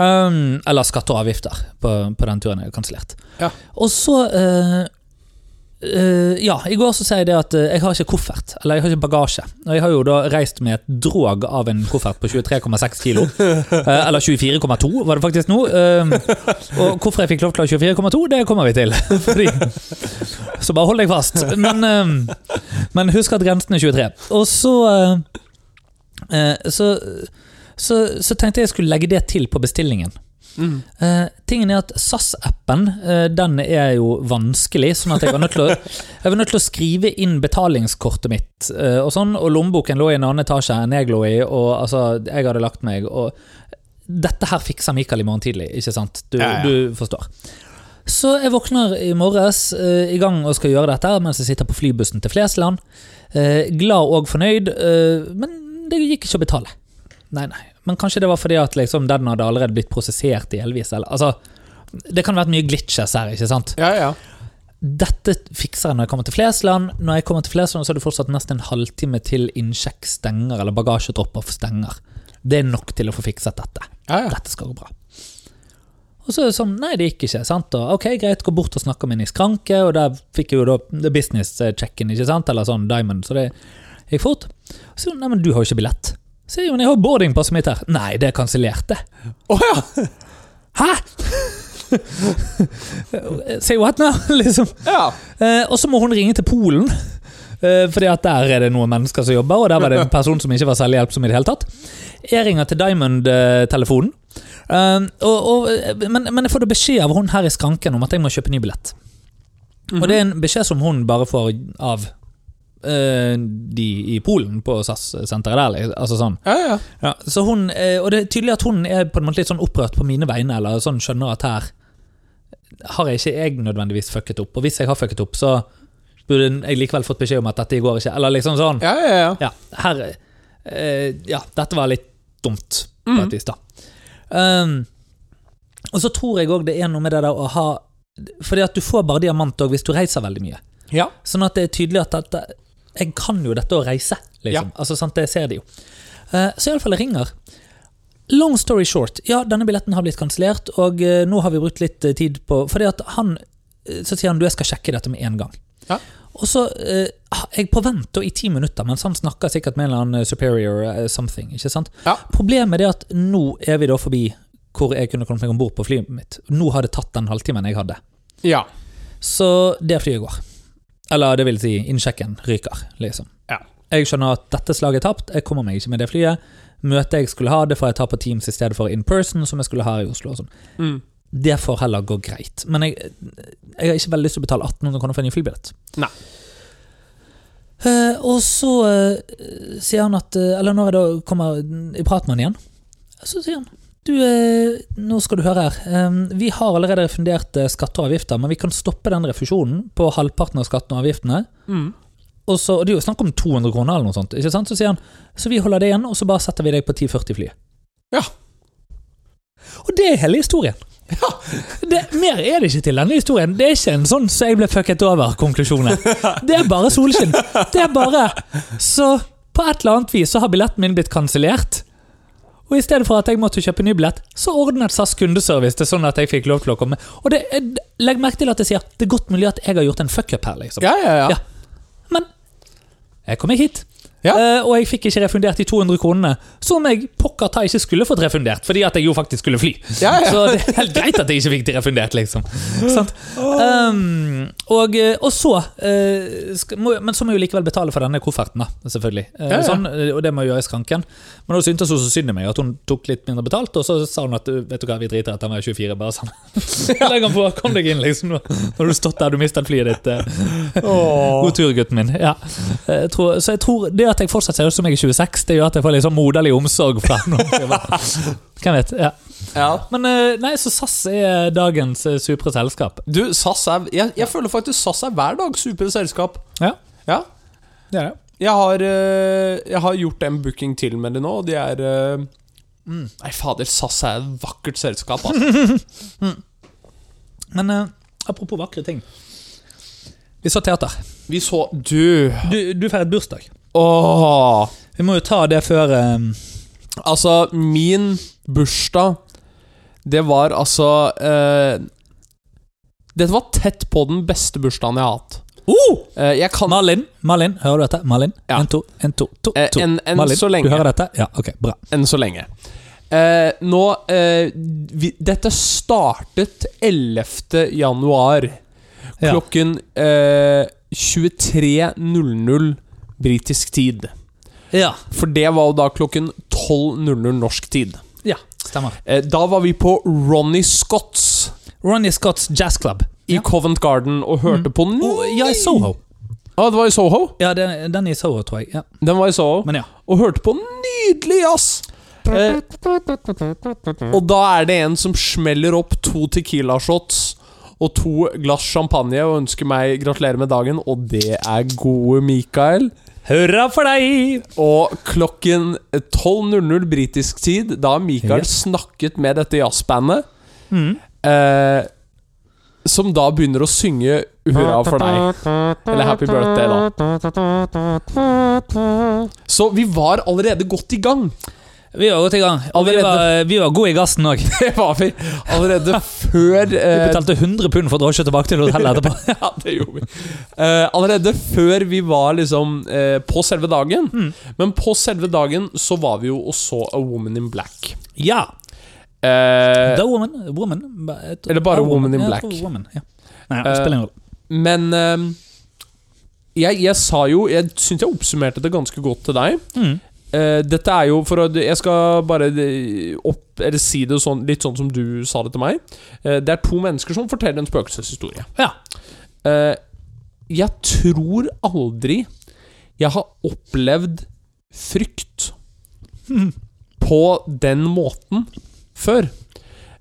A: Um, eller skatter og avgifter på, på den turen jeg har kansellert.
B: Ja.
A: Og så eh, eh, Ja, i går så sier jeg det at eh, jeg har ikke koffert. Eller jeg har ikke bagasje. Og jeg har jo da reist med et drog av en koffert på 23,6 kilo. Eh, eller 24,2 var det faktisk nå. Um, og hvorfor jeg fikk lov til å ha 24,2, det kommer vi til. Fordi, så bare hold deg fast. Men, um, men husk at grensen er 23. Og så eh, eh, så, så, så tenkte jeg jeg skulle legge det til på bestillingen.
B: Mm.
A: Eh, tingen er at SAS-appen eh, Den er jo vanskelig, sånn at jeg var nødt til å, jeg var nødt til å skrive inn betalingskortet mitt. eh, og sånn, og lommeboken lå i en annen etasje enn jeg lå i, og altså, jeg hadde lagt meg. Og dette her fikser Mikael i morgen tidlig, ikke sant? Du,
B: Ja, ja.
A: du forstår. Så jeg våkner i morges eh, i gang og skal gjøre dette her, mens jeg sitter på flybussen til Flesland. Eh, glad og fornøyd, eh, men det gikk ikke å betale. Nei, nei. Men kanskje det var fordi at liksom, den hadde allerede blitt prosessert delvis. Eller, altså, det kan ha vært mye glitches her. ikke sant?
B: Ja, ja.
A: Dette fikser jeg når jeg kommer til Flesland. Når jeg kommer til Flesland, så er det fortsatt nesten en halvtime til innsjekk stenger, eller bagasjedropper stenger. Det er nok til å få fikset dette.
B: ja, ja.
A: Dette skal gå bra. Og så er det sånn, nei, det gikk ikke. sant? Og, ok, greit, gå bort og snakke med en i skranke, og der fikk jeg jo da det business-checken, ikke sant? Eller sånn diamond, så det gikk fort. Og så, nei, men du har jo ikke billett. Så jeg, men jeg har boardingpasset mitt her. Nei, det er kansellert, det.
B: Å ja!
A: Hæ?! Say what now? liksom.
B: ja.
A: Eh, og så må hun ringe til Polen. Eh, fordi at der er det noen mennesker som jobber, og der var det en person som ikke var særlig hjelpsom. i det hele tatt. Jeg ringer til Diamond-telefonen, eh, og, og, men, men jeg får da beskjed av hun her i skranken om at jeg må kjøpe ny billett. Og det er en beskjed som hun bare får av eh, de i Polen, på SAS-senteret der. li- Altså sånn.
B: ja, ja.
A: Ja, så hun, eh, og det er tydelig at hun er på en måte litt sånn opprørt på mine vegne, eller sånn skjønner at her har jeg ikke jeg nødvendigvis fucket opp, og hvis jeg har fucket opp, så burde jeg likevel fått beskjed om at dette går ikke, eller liksom sånn.
B: ja, ja, ja.
A: Ja, her eh, Ja, dette var litt dumt, på et vis, da. Um, og så tror jeg òg det er noe med det der å ha Fordi at du får bare diamant òg hvis du reiser veldig mye.
B: Ja.
A: Sånn at det er tydelig at dette, jeg kan jo dette å reise, liksom. Altså, sant, det ser de jo. Eh, Så iallfall jeg ringer. Long story short, ja, denne billetten har blitt kansellert, og eh, nå har vi brukt litt eh, tid på Fordi at han eh, Så sier han du, jeg skal sjekke dette med en gang.
B: Ja.
A: Og så eh, Jeg på vent da i ti minutter, mens han snakker sikkert med en eller annen eh, superior eh, something. ikke sant?
B: Ja.
A: Problemet er at nå er vi da forbi hvor jeg kunne kommet meg om bord på flyet mitt. Nå har det tatt den halvtimen jeg hadde.
B: ja.
A: Så det flyet går. Eller det vil si, innsjekken ryker, liksom.
B: Ja.
A: Jeg skjønner at dette slaget er tapt, jeg kommer meg ikke med det flyet. Møtet jeg skulle ha, det får jeg ta på Teams i stedet for in person, som jeg skulle ha her i Oslo. og sånn.
B: Mm.
A: Det får heller gå greit. Men jeg, jeg har ikke veldig lyst til å betale 1800 kroner for en ny flybillett.
B: Nei.
A: Eh, og så eh, sier han at eh, Eller når jeg da kommer i prat med han igjen, så sier han Du, eh, nå skal du høre her. Eh, vi har allerede refundert eh, skatter og avgifter, men vi kan stoppe den refusjonen på halvparten av skattene og avgiftene.
B: Mm.
A: Og så, og det er jo snakk om 200 kroner eller noe sånt. ikke sant? Så sier han så vi holder det igjen, og så bare setter vi deg på 1040-flyet.
B: Ja.
A: Og det er hele historien.
B: Ja.
A: Det, mer er det ikke til denne historien. Det er ikke en sånn 'så jeg ble fucket over'-konklusjonen. Det er bare solskinn. Det er bare Så på et eller annet vis så har billetten min blitt kansellert. Og i stedet for at jeg måtte kjøpe ny billett, så ordnet SAS kundeservice det sånn at jeg fikk lov til å komme. Og det, jeg- legg merke til at jeg sier det er godt mulig at jeg har gjort en fuckup her, liksom.
B: Ja, ja, ja.
A: Ja. Men jeg kom meg hit.
B: Ja.
A: Eh, og jeg fikk ikke refundert de 200 kronene, som jeg pokker ta ikke skulle fått refundert, fordi at jeg jo faktisk skulle fly.
B: Ja, ja.
A: Så det er helt greit at jeg ikke fikk de refundert, liksom. Sant? Um, Og, eh, og så eh, skal, må, Men så må jeg jo likevel betale for denne kofferten, da, selvfølgelig. Eh,
B: Ja, ja.
A: Sånn, eh, og det må jeg gjøre i skranken. Men da syntes hun så synd i meg at hun tok litt mindre betalt, og så sa hun at eh, vet du hva, vi driter i at han er 24, bare sånn. Legg han på, kom deg inn, liksom. Nå nå har du stått der, du mistet flyet ditt. eh. God tur, gutten min. Ja. Eh, Jeg tror, så jeg tror det at jeg fortsatt ser ut som jeg er 26, det gjør at jeg får litt sånn moderlig omsorg fra henne. Hvem vet. ja Men eh, nei, så SAS er dagens eh, supre selskap.
B: Du, SAS er jeg, jeg føler faktisk SAS er hver dag supre selskap.
A: Ja.
B: Ja.
A: Det er det.
B: Jeg har, eh, jeg har gjort en booking til med det nå, og de er eh,
A: Mm.
B: Nei, fader, SAS er et vakkert selskap, altså.
A: Men eh, apropos vakre ting. Vi så teater.
B: Vi så Du!
A: Du, du feiret bursdag.
B: Åh.
A: Vi må jo ta det før eh,
B: Altså, min bursdag Det var altså eh, Dette var tett på den beste bursdagen jeg har hatt.
A: oh!
B: Eh, jeg kan
A: Malin, Malin, hører du dette? Malin,
B: Ja.
A: en, to, en, to, to,
B: Eh,
A: to.
B: enn- enn
A: Malin,
B: så lenge.
A: du hører dette? Ja, ok, bra.
B: enn så lenge. Eh, nå eh, vi, Dette startet 11. januar
A: Ja.
B: klokken eh, 23.00 britisk tid.
A: Ja,
B: For det var jo da klokken 12.00 norsk tid.
A: ja stemmer.
B: Eh, da var vi på Ronny Scotts
A: Ronny Scotts Jazz Club.
B: i Covent Garden og hørte på ny...
A: Oh, ja, i Soho.
B: Ah, det var i Soho?
A: Ja, den, den er i Soho, tror jeg. Ja.
B: Den var i Soho.
A: Men ja.
B: og hørte på nydelig jazz. Eh, og da er det en som smeller opp to Tequila shots og to glass champagne og ønsker meg gratulerer med dagen, og det er gode Mikael.
A: Hurra for deg!
B: Og klokken 12.00 britisk tid, da har Mikael snakket med dette jazzbandet,
A: Mm.
B: eh, som da begynner å synge 'Hurra for deg'. Eller 'Happy Birthday', da. Så vi var allerede godt i gang.
A: Vi var godt i gang. Og vi
B: Allerede. Eh.
A: var, vi var gode i gassen òg.
B: Det var vi allerede før
A: Vi
B: eh,
A: betalte 100 pund for drosje tilbake til hotellet etterpå.
B: Ja, det gjorde vi. Eh, allerede før vi var liksom eh, på selve dagen.
A: Mm.
B: Men på selve dagen så var vi jo og så A Woman in Black.
A: Ja.
B: Eh,
A: The Woman. woman jeg tror-
B: Eller bare
A: Ja,
B: Woman in
A: Ja, jeg
B: Black. Eh.
A: tror Woman, ja. Nei, det spiller ingen rolle.
B: men eh, jeg, jeg sa jo Jeg syns jeg oppsummerte det ganske godt til deg.
A: Mm.
B: Eh, dette er jo for å Jeg skal bare eh, opp, eller si det sånn, litt sånn som du sa det til meg. Eh, det er to mennesker som forteller en spøkelseshistorie.
A: Ja.
B: Eh, jeg tror aldri jeg har opplevd frykt på den måten før.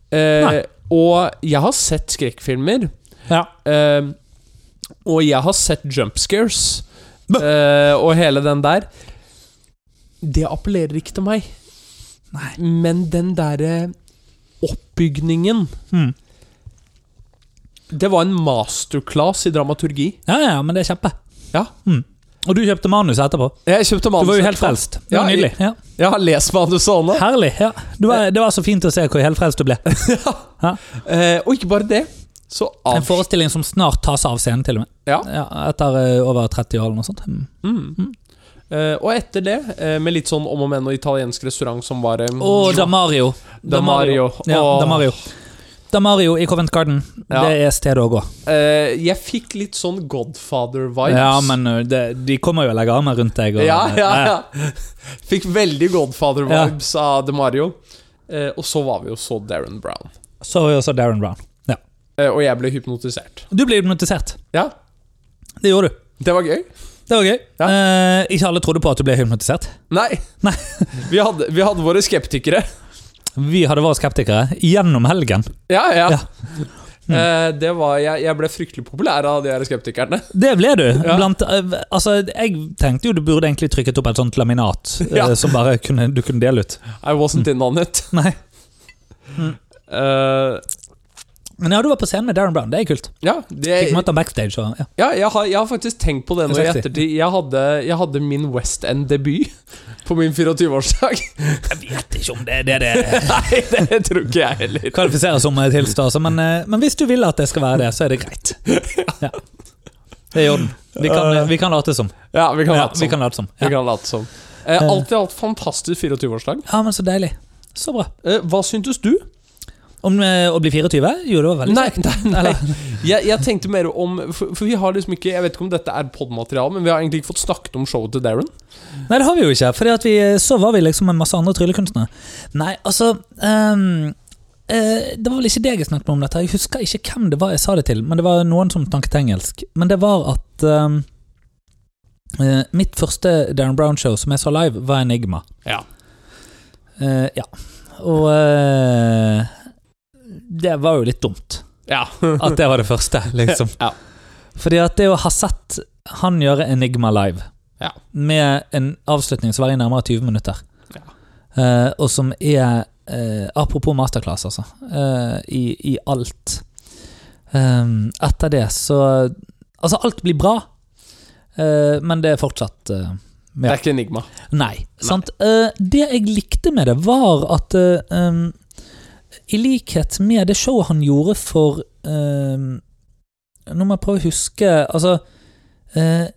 B: Eh,
A: Nei.
B: og jeg har sett skrekkfilmer,
A: ja.
B: eh, og jeg har sett jump scares, eh, og hele den der. Det appellerer ikke til meg,
A: Nei.
B: men den derre oppbygningen
A: Mm.
B: Det var en masterclass i dramaturgi.
A: Ja, ja, men det er kjempe.
B: Ja.
A: Mm. Og du kjøpte manus etterpå.
B: Jeg kjøpte
A: Du
B: manus.
A: var jo helt frelst. Det var
B: Ja,
A: nydelig. Ja.
B: Jeg har lest manuset òg nå.
A: Herlig. ja. Du var, det var så fint å se hvor helt frelst du ble.
B: Eh, og ikke bare det. Så
A: En
B: av...
A: forestilling som snart tas av scenen, til og med.
B: Ja.
A: Ja, etter eh, over 30 år eller noe sånt. Mm.
B: Hmm. Eh, og etter det, eh, med litt sånn om og men og italiensk restaurant som var eh,
A: Og Mm. Damario.
B: Damario.
A: Ja,
B: Åh.
A: Damario. Damario i Covent Garden.
B: Ja.
A: Det er stedet å gå.
B: eh, Jeg fikk litt sånn Godfather-vibes.
A: Ja, men ø, det, de kommer jo og legger armer rundt deg. Og,
B: ja, ja, ja. Fikk veldig Godfather-vibes av De Mario. Eh, og så var vi jo så Darren Brown.
A: Så var jo også Darren Brown. Ja.
B: Eh, og jeg ble hypnotisert.
A: Du ble hypnotisert.
B: Ja,
A: Det gjorde du.
B: det var gøy.
A: Det var gøy.
B: Ja.
A: Eh, ikke alle trodde på at du ble hypnotisert.
B: Nei.
A: Nei.
B: vi, hadde, vi hadde våre skeptikere.
A: Vi hadde vært skeptikere gjennom helgen.
B: Ja, ja.
A: Ja.
B: Eh, det var, jeg, jeg ble fryktelig populær av de her skeptikerne.
A: Det ble du.
B: Ja.
A: Blant, eh, altså, jeg tenkte jo du burde egentlig trykket opp et sånt laminat eh,
B: Ja.
A: som bare kunne, du kunne dele ut.
B: I wasn't in on it. Mm.
A: Nei.
B: Eh,
A: Men ja, du var på scenen med Darren Brown. Det er kult.
B: ja, det,
A: Fikk møte ham backstage. Og, ja.
B: ja jeg, har, jeg har faktisk tenkt på det nå i
A: Sexy.
B: ettertid. Jeg hadde, jeg hadde min West End-debut på min 24-årsdag.
A: Jeg vet ikke om det er det det
B: Nei, det tror ikke jeg heller.
A: kvalifiserer som eh, tilståelse, men, eh, men hvis du vil at det skal være det, så er det greit. Ja. Det er i orden. Vi kan, eh, vi kan late som.
B: Ja, vi kan
A: Ja,
B: late
A: vi
B: som.
A: kan late som.
B: Vi
A: Ja.
B: kan late som. Eh, alt i alt fantastisk 24-årsdag.
A: ja, men så deilig. Så bra.
B: Eh, hva syntes du?
A: Å, Om eh, å bli 24? Jo, det var veldig
B: Nei, nei, nei.
A: Eller?
B: Jeg, jeg tenkte mer om for, for vi har liksom ikke Jeg vet ikke om dette er podmateriale, men vi har egentlig ikke fått snakket om showet til Darren.
A: Nei, det har vi jo ikke. For så var vi liksom en masse andre tryllekunstnere. Nei, altså ehm, eh, Det var vel ikke deg jeg snakket med om dette. Jeg husker ikke hvem det var jeg sa det til, men det var noen som snakket engelsk. Men det var at ehm, eh, mitt første Darren Brown-show som jeg så live, var Enigma.
B: Ja.
A: Eh, ja. Og eh, det var jo litt dumt
B: Ja.
A: at det var det første, liksom.
B: Ja.
A: Fordi at det å ha sett han gjøre Enigma live,
B: Ja.
A: med en avslutning som var i nærmere 20 minutter,
B: Ja.
A: Eh, og som er eh, Apropos masterclass, altså, eh, i, i alt. Ehm, etter det så Altså, alt blir bra, eh, men det er fortsatt eh,
B: Det er ikke enigma.
A: Nei. Sant? Eh, det jeg likte med det, var at eh, em, I likhet med det showet han gjorde for em, Nå må jeg prøve å huske Altså eh,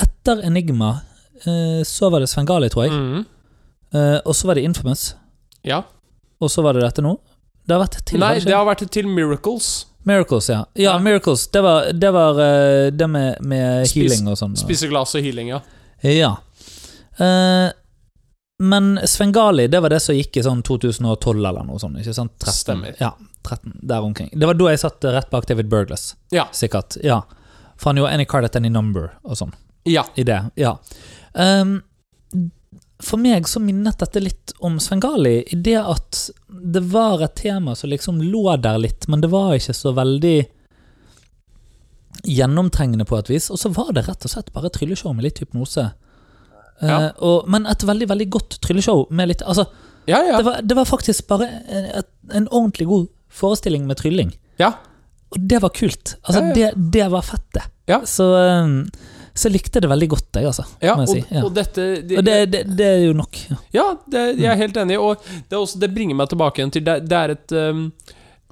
A: Etter Enigma eh, så var det Svengali, tror jeg.
B: Mhm.
A: Eh, og så var det Infamous.
B: Ja.
A: Og så var det dette nå. Det har vært et til. har
B: Nei,
A: det
B: det
A: ikke?
B: har vært til Miracles.
A: Miracles, ja.
B: Ja.
A: ja. Miracles. Det var det, var, eh, det med, med
B: Spis-
A: healing og sånn.
B: Spise glass og healing, ja.
A: Ja. Eh, men Svengali, det var det som gikk i sånn 2012 eller noe sånt. ikke sant? 13,
B: Stemmer.
A: Ja, 13, der omkring. Det var da jeg satt rett bak David Burglas,
B: Ja.
A: sikkert. ja. For han gjorde Any Card At Any Number og sånn.
B: Ja.
A: I det, ja. Ehm, for meg så minnet dette litt om Svengali, i det at det var et tema som liksom lå der litt, men det var ikke så veldig gjennomtrengende på et vis. Og så var det rett og slett bare et trylleshow med litt hypnose. Eh,
B: Ja.
A: og, men et veldig veldig godt trylleshow. Med litt, altså,
B: Ja, ja.
A: det, var, det var faktisk bare en, et- en ordentlig god forestilling med trylling.
B: ja.
A: Og det var kult. Altså,
B: Ja, ja.
A: Det, det var fett, det.
B: Ja.
A: Så, um, så jeg likte det veldig godt, jeg, altså.
B: ja.
A: må
B: Og,
A: jeg si. Ja.
B: og dette
A: Og det, det, det er jo nok. Ja.
B: Ja, det, jeg er helt enig. Og det, er også, det bringer meg tilbake igjen til Det, det er et um,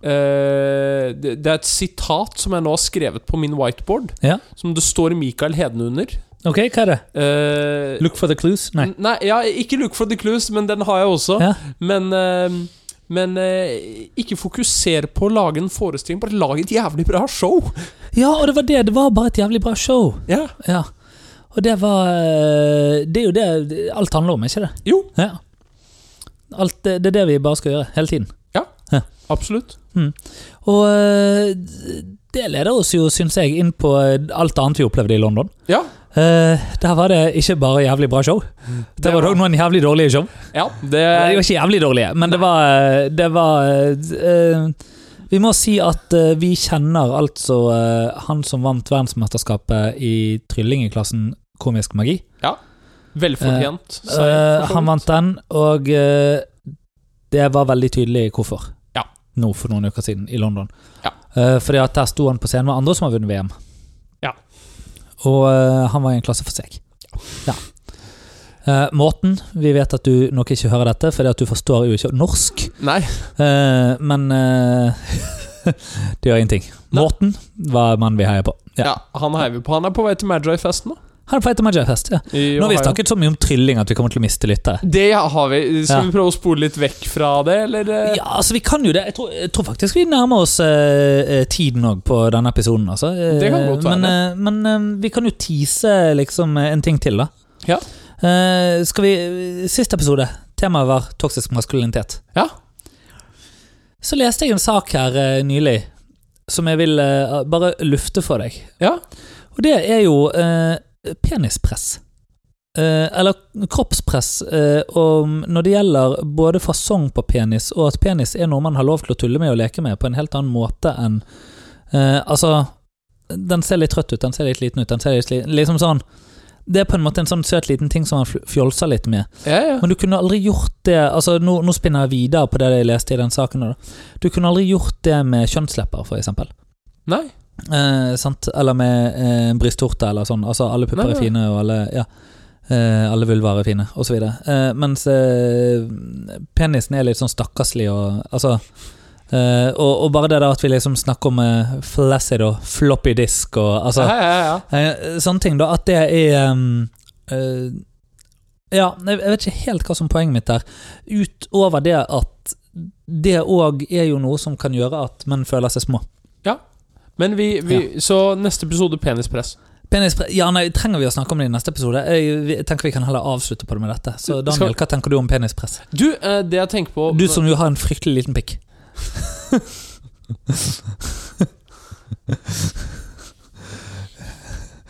B: eh, det, det er et sitat som jeg nå har skrevet på min whiteboard,
A: Ja.
B: som det står Mikael Hedne under.
A: Ok, hva er det?
B: Eh,
A: Look for the clues? Nei.
B: n- nei, ja, ikke Look for the clues, men den har jeg også.
A: Ja.
B: Men, eh, men eh, ikke fokuser på å lage en forestilling, bare lag et jævlig bra show!
A: Ja, og det var det. Det var bare et jævlig bra show.
B: Ja.
A: Ja. Og det var eh, Det er jo det alt handler om, ikke det?
B: Jo,
A: Ja. Alt, det, det er det vi bare skal gjøre, hele tiden.
B: absolutt.
A: Og eh, det leder oss jo, syns jeg, inn på eh, alt annet vi opplevde i London.
B: Ja.
A: Eh, der var det ikke bare jævlig bra show. Det, var òg noen jævlig dårlige show.
B: Ja, det
A: Nei, De var ikke jævlig dårlige, men det var, det var eh, Vi må si at eh, vi kjenner altså eh, han som vant verdensmesterskapet i trylling i klassen komisk magi.
B: Velfortjent.
A: Eh,
B: sa jeg, for så
A: han
B: vidt.
A: vant den, og eh, det var veldig tydelig hvorfor.
B: Ja.
A: Nå for noen uker siden, i London.
B: Ja.
A: Eh, fordi at der sto han på scenen med andre som har vunnet VM.
B: Ja.
A: Og eh, han var i en klasse for seg. Ja. Eh, Morten, vi vet at du nok ikke hører dette, fordi at du forstår jo ikke norsk.
B: Nei.
A: Eh, men eh, det gjør ingenting.
B: Nei.
A: Morten var mannen vi heier på.
B: Ja.
A: Ja.
B: han heier vi på. Han er på vei til Magi-festen nå.
A: Han er på etter Magiafest. Ja.
B: i
A: Nå har vi
B: Ohio.
A: snakket så mye om trylling at vi kommer til å miste lyttere.
B: Det har vi. Skal
A: Ja.
B: vi prøve å spole litt vekk fra det, eller? eh?
A: Ja, altså vi kan jo det. Jeg tror, jeg tror faktisk vi nærmer oss eh, eh, tiden òg på denne episoden. Altså. Eh,
B: Det kan godt være.
A: Men, eh, men eh, vi kan jo tease liksom, eh, en ting til, da.
B: Ja.
A: Eh, skal vi Sist episode, temaet var toksisk maskulinitet.
B: Ja.
A: Så leste jeg en sak her eh, nylig som jeg vil eh, bare lufte for deg.
B: Ja.
A: Og det er jo eh, penispress. Eh, eller kroppspress eh, om, når det gjelder både fasong på penis, og at penis er noe man har lov til å tulle med og leke med på en helt annen måte enn eh, Altså, den ser litt trøtt ut, den ser litt liten ut, den ser litt li- Liksom sånn. Det er på en måte en sånn søt liten ting som man fl- fjolser litt med.
B: Ja, ja.
A: Men du kunne aldri gjort det altså Nå, nå spinner jeg videre på det jeg leste i den saken. nå Da. Du kunne aldri gjort det med kjønnslepper, for eksempel.
B: Nei.
A: Eh, sant? Eller med eh, en brysttorte eller sånn. Altså, alle
B: Nei,
A: pupper er
B: nei.
A: fine, og alle ja. eh, Alle vulvar er fine, osv. Eh, mens eh, penisen er litt sånn stakkarslig og Altså eh, og, og bare det der at vi liksom snakker om eh, flaccid og floppy disk og altså
B: ja, ja, ja.
A: Eh, sånne ting, da. At det er um, eh, Ja, jeg jeg vet ikke helt hva som er poenget mitt der. Utover det at det òg er jo noe som kan gjøre at menn føler seg små.
B: Men vi, vi Så neste episode penispress.
A: Penispre ja, nei, Trenger vi å snakke om det i neste episode? Jeg vi- tenker Vi kan heller avslutte på det med dette. Så Daniel, hva tenker du om penispress?
B: Du, eh, det jeg tenker på
A: Du som jo har en fryktelig liten pikk.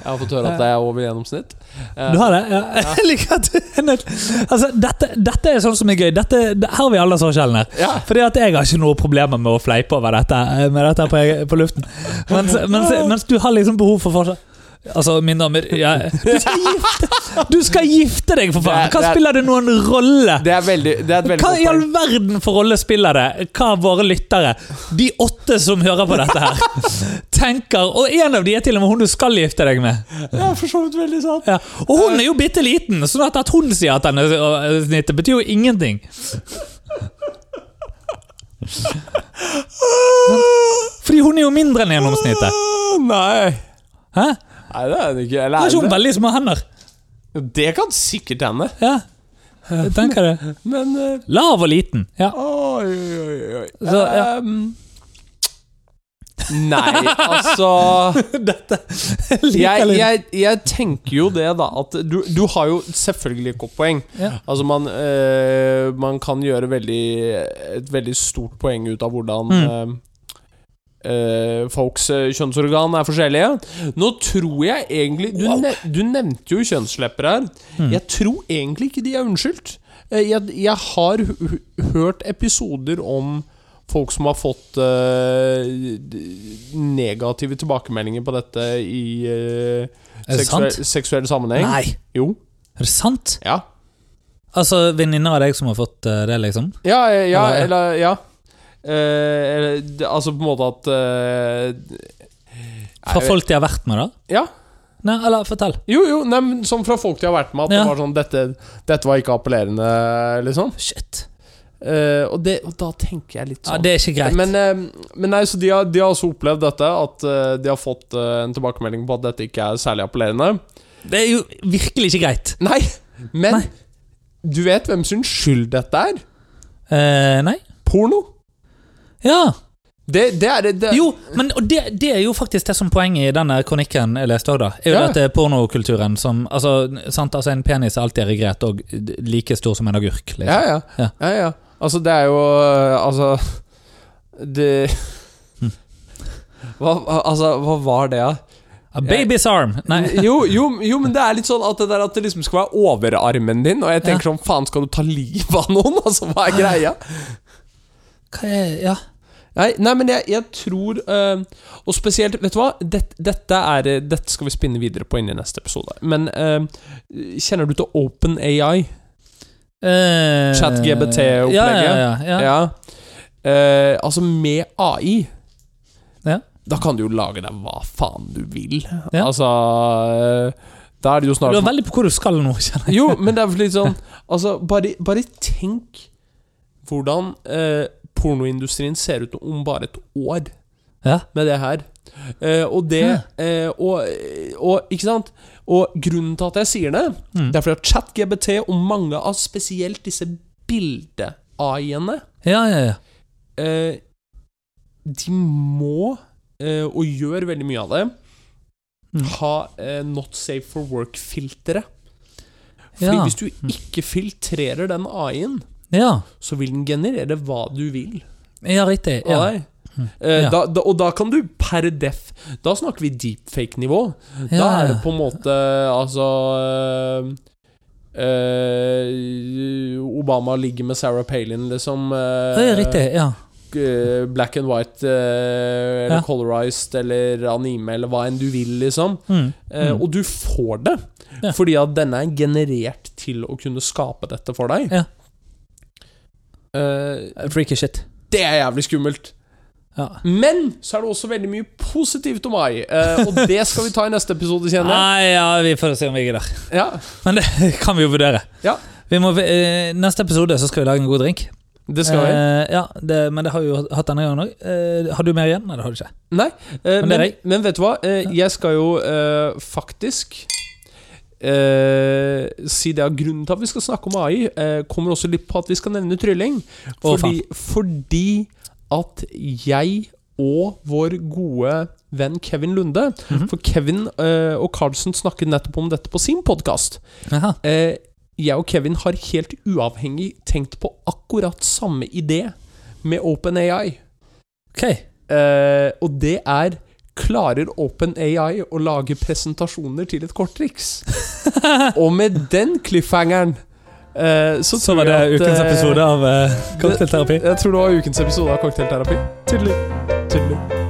B: Jeg har fått høre at det er over gjennomsnitt. Eh,
A: Du har det? Ja. Jeg liker at du er nødt altså, dette, dette er sånn som er gøy. Dette, det- her har vi aldersforskjellen her.
B: Ja.
A: Fordi at jeg har ikke noe problemer med å fleipe over dette, eh, med dette på, på luften. Mens, mens, mens du har liksom behov for forskjell. Altså, mine damer ja. du, skal gifte, du skal gifte deg, for
B: Det er-
A: faen!
B: det
A: Hva
B: er-
A: spiller det noen rolle?
B: Det er veldig Det er et veldig
A: Hva i
B: godt
A: all
B: poeng.
A: verden for rolle spiller det? Hva våre lyttere, de åtte som hører på dette her, tenker? Og en av de er til og med hun du skal gifte deg med.
B: Det er for så vidt veldig sant.
A: Ja. Og hun er jo bitte liten, sånn at, at hun sier at han er øh, snittet, betyr jo ingenting. Fordi hun er jo mindre enn gjennomsnittet.
B: Ah, Nei.
A: Hæ?
B: Nei, det er det ikke. Eller
A: Har ikke
B: er
A: hun
B: det?
A: veldig små hender?
B: det kan sikkert hende.
A: Ja. Jeg tenker det.
B: Men eh,
A: Lav og liten. Ja.
B: Oi, oi, oi.
A: Så, ja.
B: Ehm, Nei, altså
A: Dette
B: jeg,
A: liker litt.
B: jeg, jeg tenker jo det, da. At du, du har jo selvfølgelig et godt poeng.
A: Ja.
B: Altså, man, eh, man kan gjøre veldig, et veldig stort poeng ut av hvordan
A: Mm.
B: eh, eh, folks eh, kjønnsorgan er forskjellige. Nå tror jeg egentlig Du,
A: Wow. Mm.
B: nev- du nevnte jo kjønnslepper her. Jeg tror egentlig ikke de er unnskyldt. Eh, Jeg, jeg har hu- hu- hørt episoder om folk som har fått eh, d- negative tilbakemeldinger på dette i eh,
A: Er det
B: seksuell,
A: sant?
B: seksuell sammenheng.
A: Nei,
B: Jo.
A: er det sant?
B: Ja.
A: Altså, venninner av deg som har fått øh, det, liksom?
B: Ja, eh, ja,
A: Eller-
B: eller Ja. Eh, eller, d- altså på en måte at eh,
A: Fra
B: nei,
A: folk de har vært med, da?
B: Ja.
A: Nei, eller fortell.
B: Jo, jo, nei, men sånn fra folk de har vært med, at
A: Ja.
B: det var sånn dette, dette var ikke appellerende, liksom.
A: Shit.
B: Eh, og, det, og da tenker jeg litt
A: Ja,
B: sånn.
A: det er ikke greit.
B: men, eh, men nei, så de har, de har også opplevd dette, at eh, de har fått eh, en tilbakemelding på at dette ikke er særlig appellerende.
A: Det er jo virkelig ikke greit.
B: Nei, men
A: Nei.
B: du vet hvem sin skyld dette er?
A: Eh, nei?
B: Porno.
A: Ja.
B: Det, det er det, det
A: Jo, men og det, det er jo faktisk det som poenget i denne kronikken jeg leste òg, da. Er jo
B: Ja.
A: at det er pornokulturen som altså, sant? altså, en penis er alltid erigert og like stor som en agurk. Liksom.
B: Ja,
A: Ja.
B: ja. ja, ja. Altså, det er jo øh, Altså Det hva, altså, hva var det, da?
A: A baby's arm! Nei.
B: Jo, jo, jo, men det er litt sånn at det der at det liksom skal være overarmen din, og jeg tenker sånn Faen, skal du ta livet av noen? Altså, hva er greia?
A: Hva er Ja.
B: Nei, nei men jeg, jeg tror øh, Og spesielt, vet du hva? Dette, dette, er, øh, dette skal vi spinne videre på inn i neste episode. Men øh, kjenner du til OpenAI?
A: Eh,
B: Chat-GBT-opplegget.
A: Ja, ja, ja, ja.
B: Ja. Eh, altså, med AI
A: Ja.
B: Da kan du jo lage deg hva faen du vil.
A: Ja.
B: Altså eh, Da er det jo
A: Du
B: snart
A: er veldig på hvor du skal nå, kjenner jeg.
B: Jo, men det er litt sånn Altså, bare, bare tenk hvordan eh, pornoindustrien ser ut om bare et år
A: Ja.
B: med det her. Eh, og det eh, og, og Ikke sant? Og grunnen til at jeg sier det,
A: Mm.
B: det er fordi at ChatGBT og mange av spesielt disse bilde-AI-ene
A: Ja, ja, ja.
B: eh, De må, eh, og gjør veldig mye av det,
A: Mm.
B: ha eh, Not safe for work-filteret. Fordi
A: Ja. Mm.
B: hvis du ikke filtrerer den AI-en,
A: ja.
B: så vil den generere hva du vil
A: ja riktig.
B: av
A: Ja. Mm.
B: deg. Eh,
A: Ja.
B: Da, da, og da kan du per def Da snakker vi deepfake-nivå. Da
A: Ja,
B: er det
A: ja.
B: på en måte altså eh, eh, Obama ligger med Sarah Palin, liksom. eh,
A: Ja, riktig. Ja.
B: eh, black and white, eh, eller
A: Ja.
B: colorized, eller anime, eller hva enn du vil, liksom.
A: Mm.
B: Eh,
A: Mm.
B: Og du får det,
A: Ja.
B: fordi at denne er generert til å kunne skape dette for deg.
A: Ja.
B: Eh,
A: Freaky shit.
B: det er jævlig skummelt.
A: Ja.
B: Men så er det også veldig mye positivt om AI, eh, og det skal vi ta i neste episode, kjenner jeg.
A: Nei, ja, vi får se om vi gidder.
B: Ja.
A: Men det kan vi jo vurdere.
B: Ja.
A: Vi må, eh, neste episode så skal vi lage en god drink.
B: Det skal vi.
A: Eh, ja, det, men det har vi jo hatt denne gangen òg. Eh, har du mer igjen? Nei, det har du ikke.
B: Nei, eh,
A: Men det er
B: men,
A: deg.
B: men vet du hva? Eh, jeg skal jo eh, faktisk eh, si det at grunnen til at vi skal snakke om AI, eh, kommer også litt på at vi skal nevne trylling.
A: Å,
B: Fordi, fordi at jeg og vår gode venn Kevin Lunde
A: Mhm.
B: For Kevin eh, og Carlsen snakket nettopp om dette på sin podkast.
A: Jaha.
B: Eh, jeg og Kevin har helt uavhengig tenkt på akkurat samme idé med OpenAI.
A: Ok.
B: Eh, og det er Klarer OpenAI å lage presentasjoner til et korttriks? og med den cliffhangeren eh, så,
A: Så
B: tror
A: var det
B: jeg at,
A: ukens
B: eh,
A: episode av eh, Cocktailterapi.
B: Jeg tror det var ukens episode av Cocktailterapi. Tydelig. Tydelig.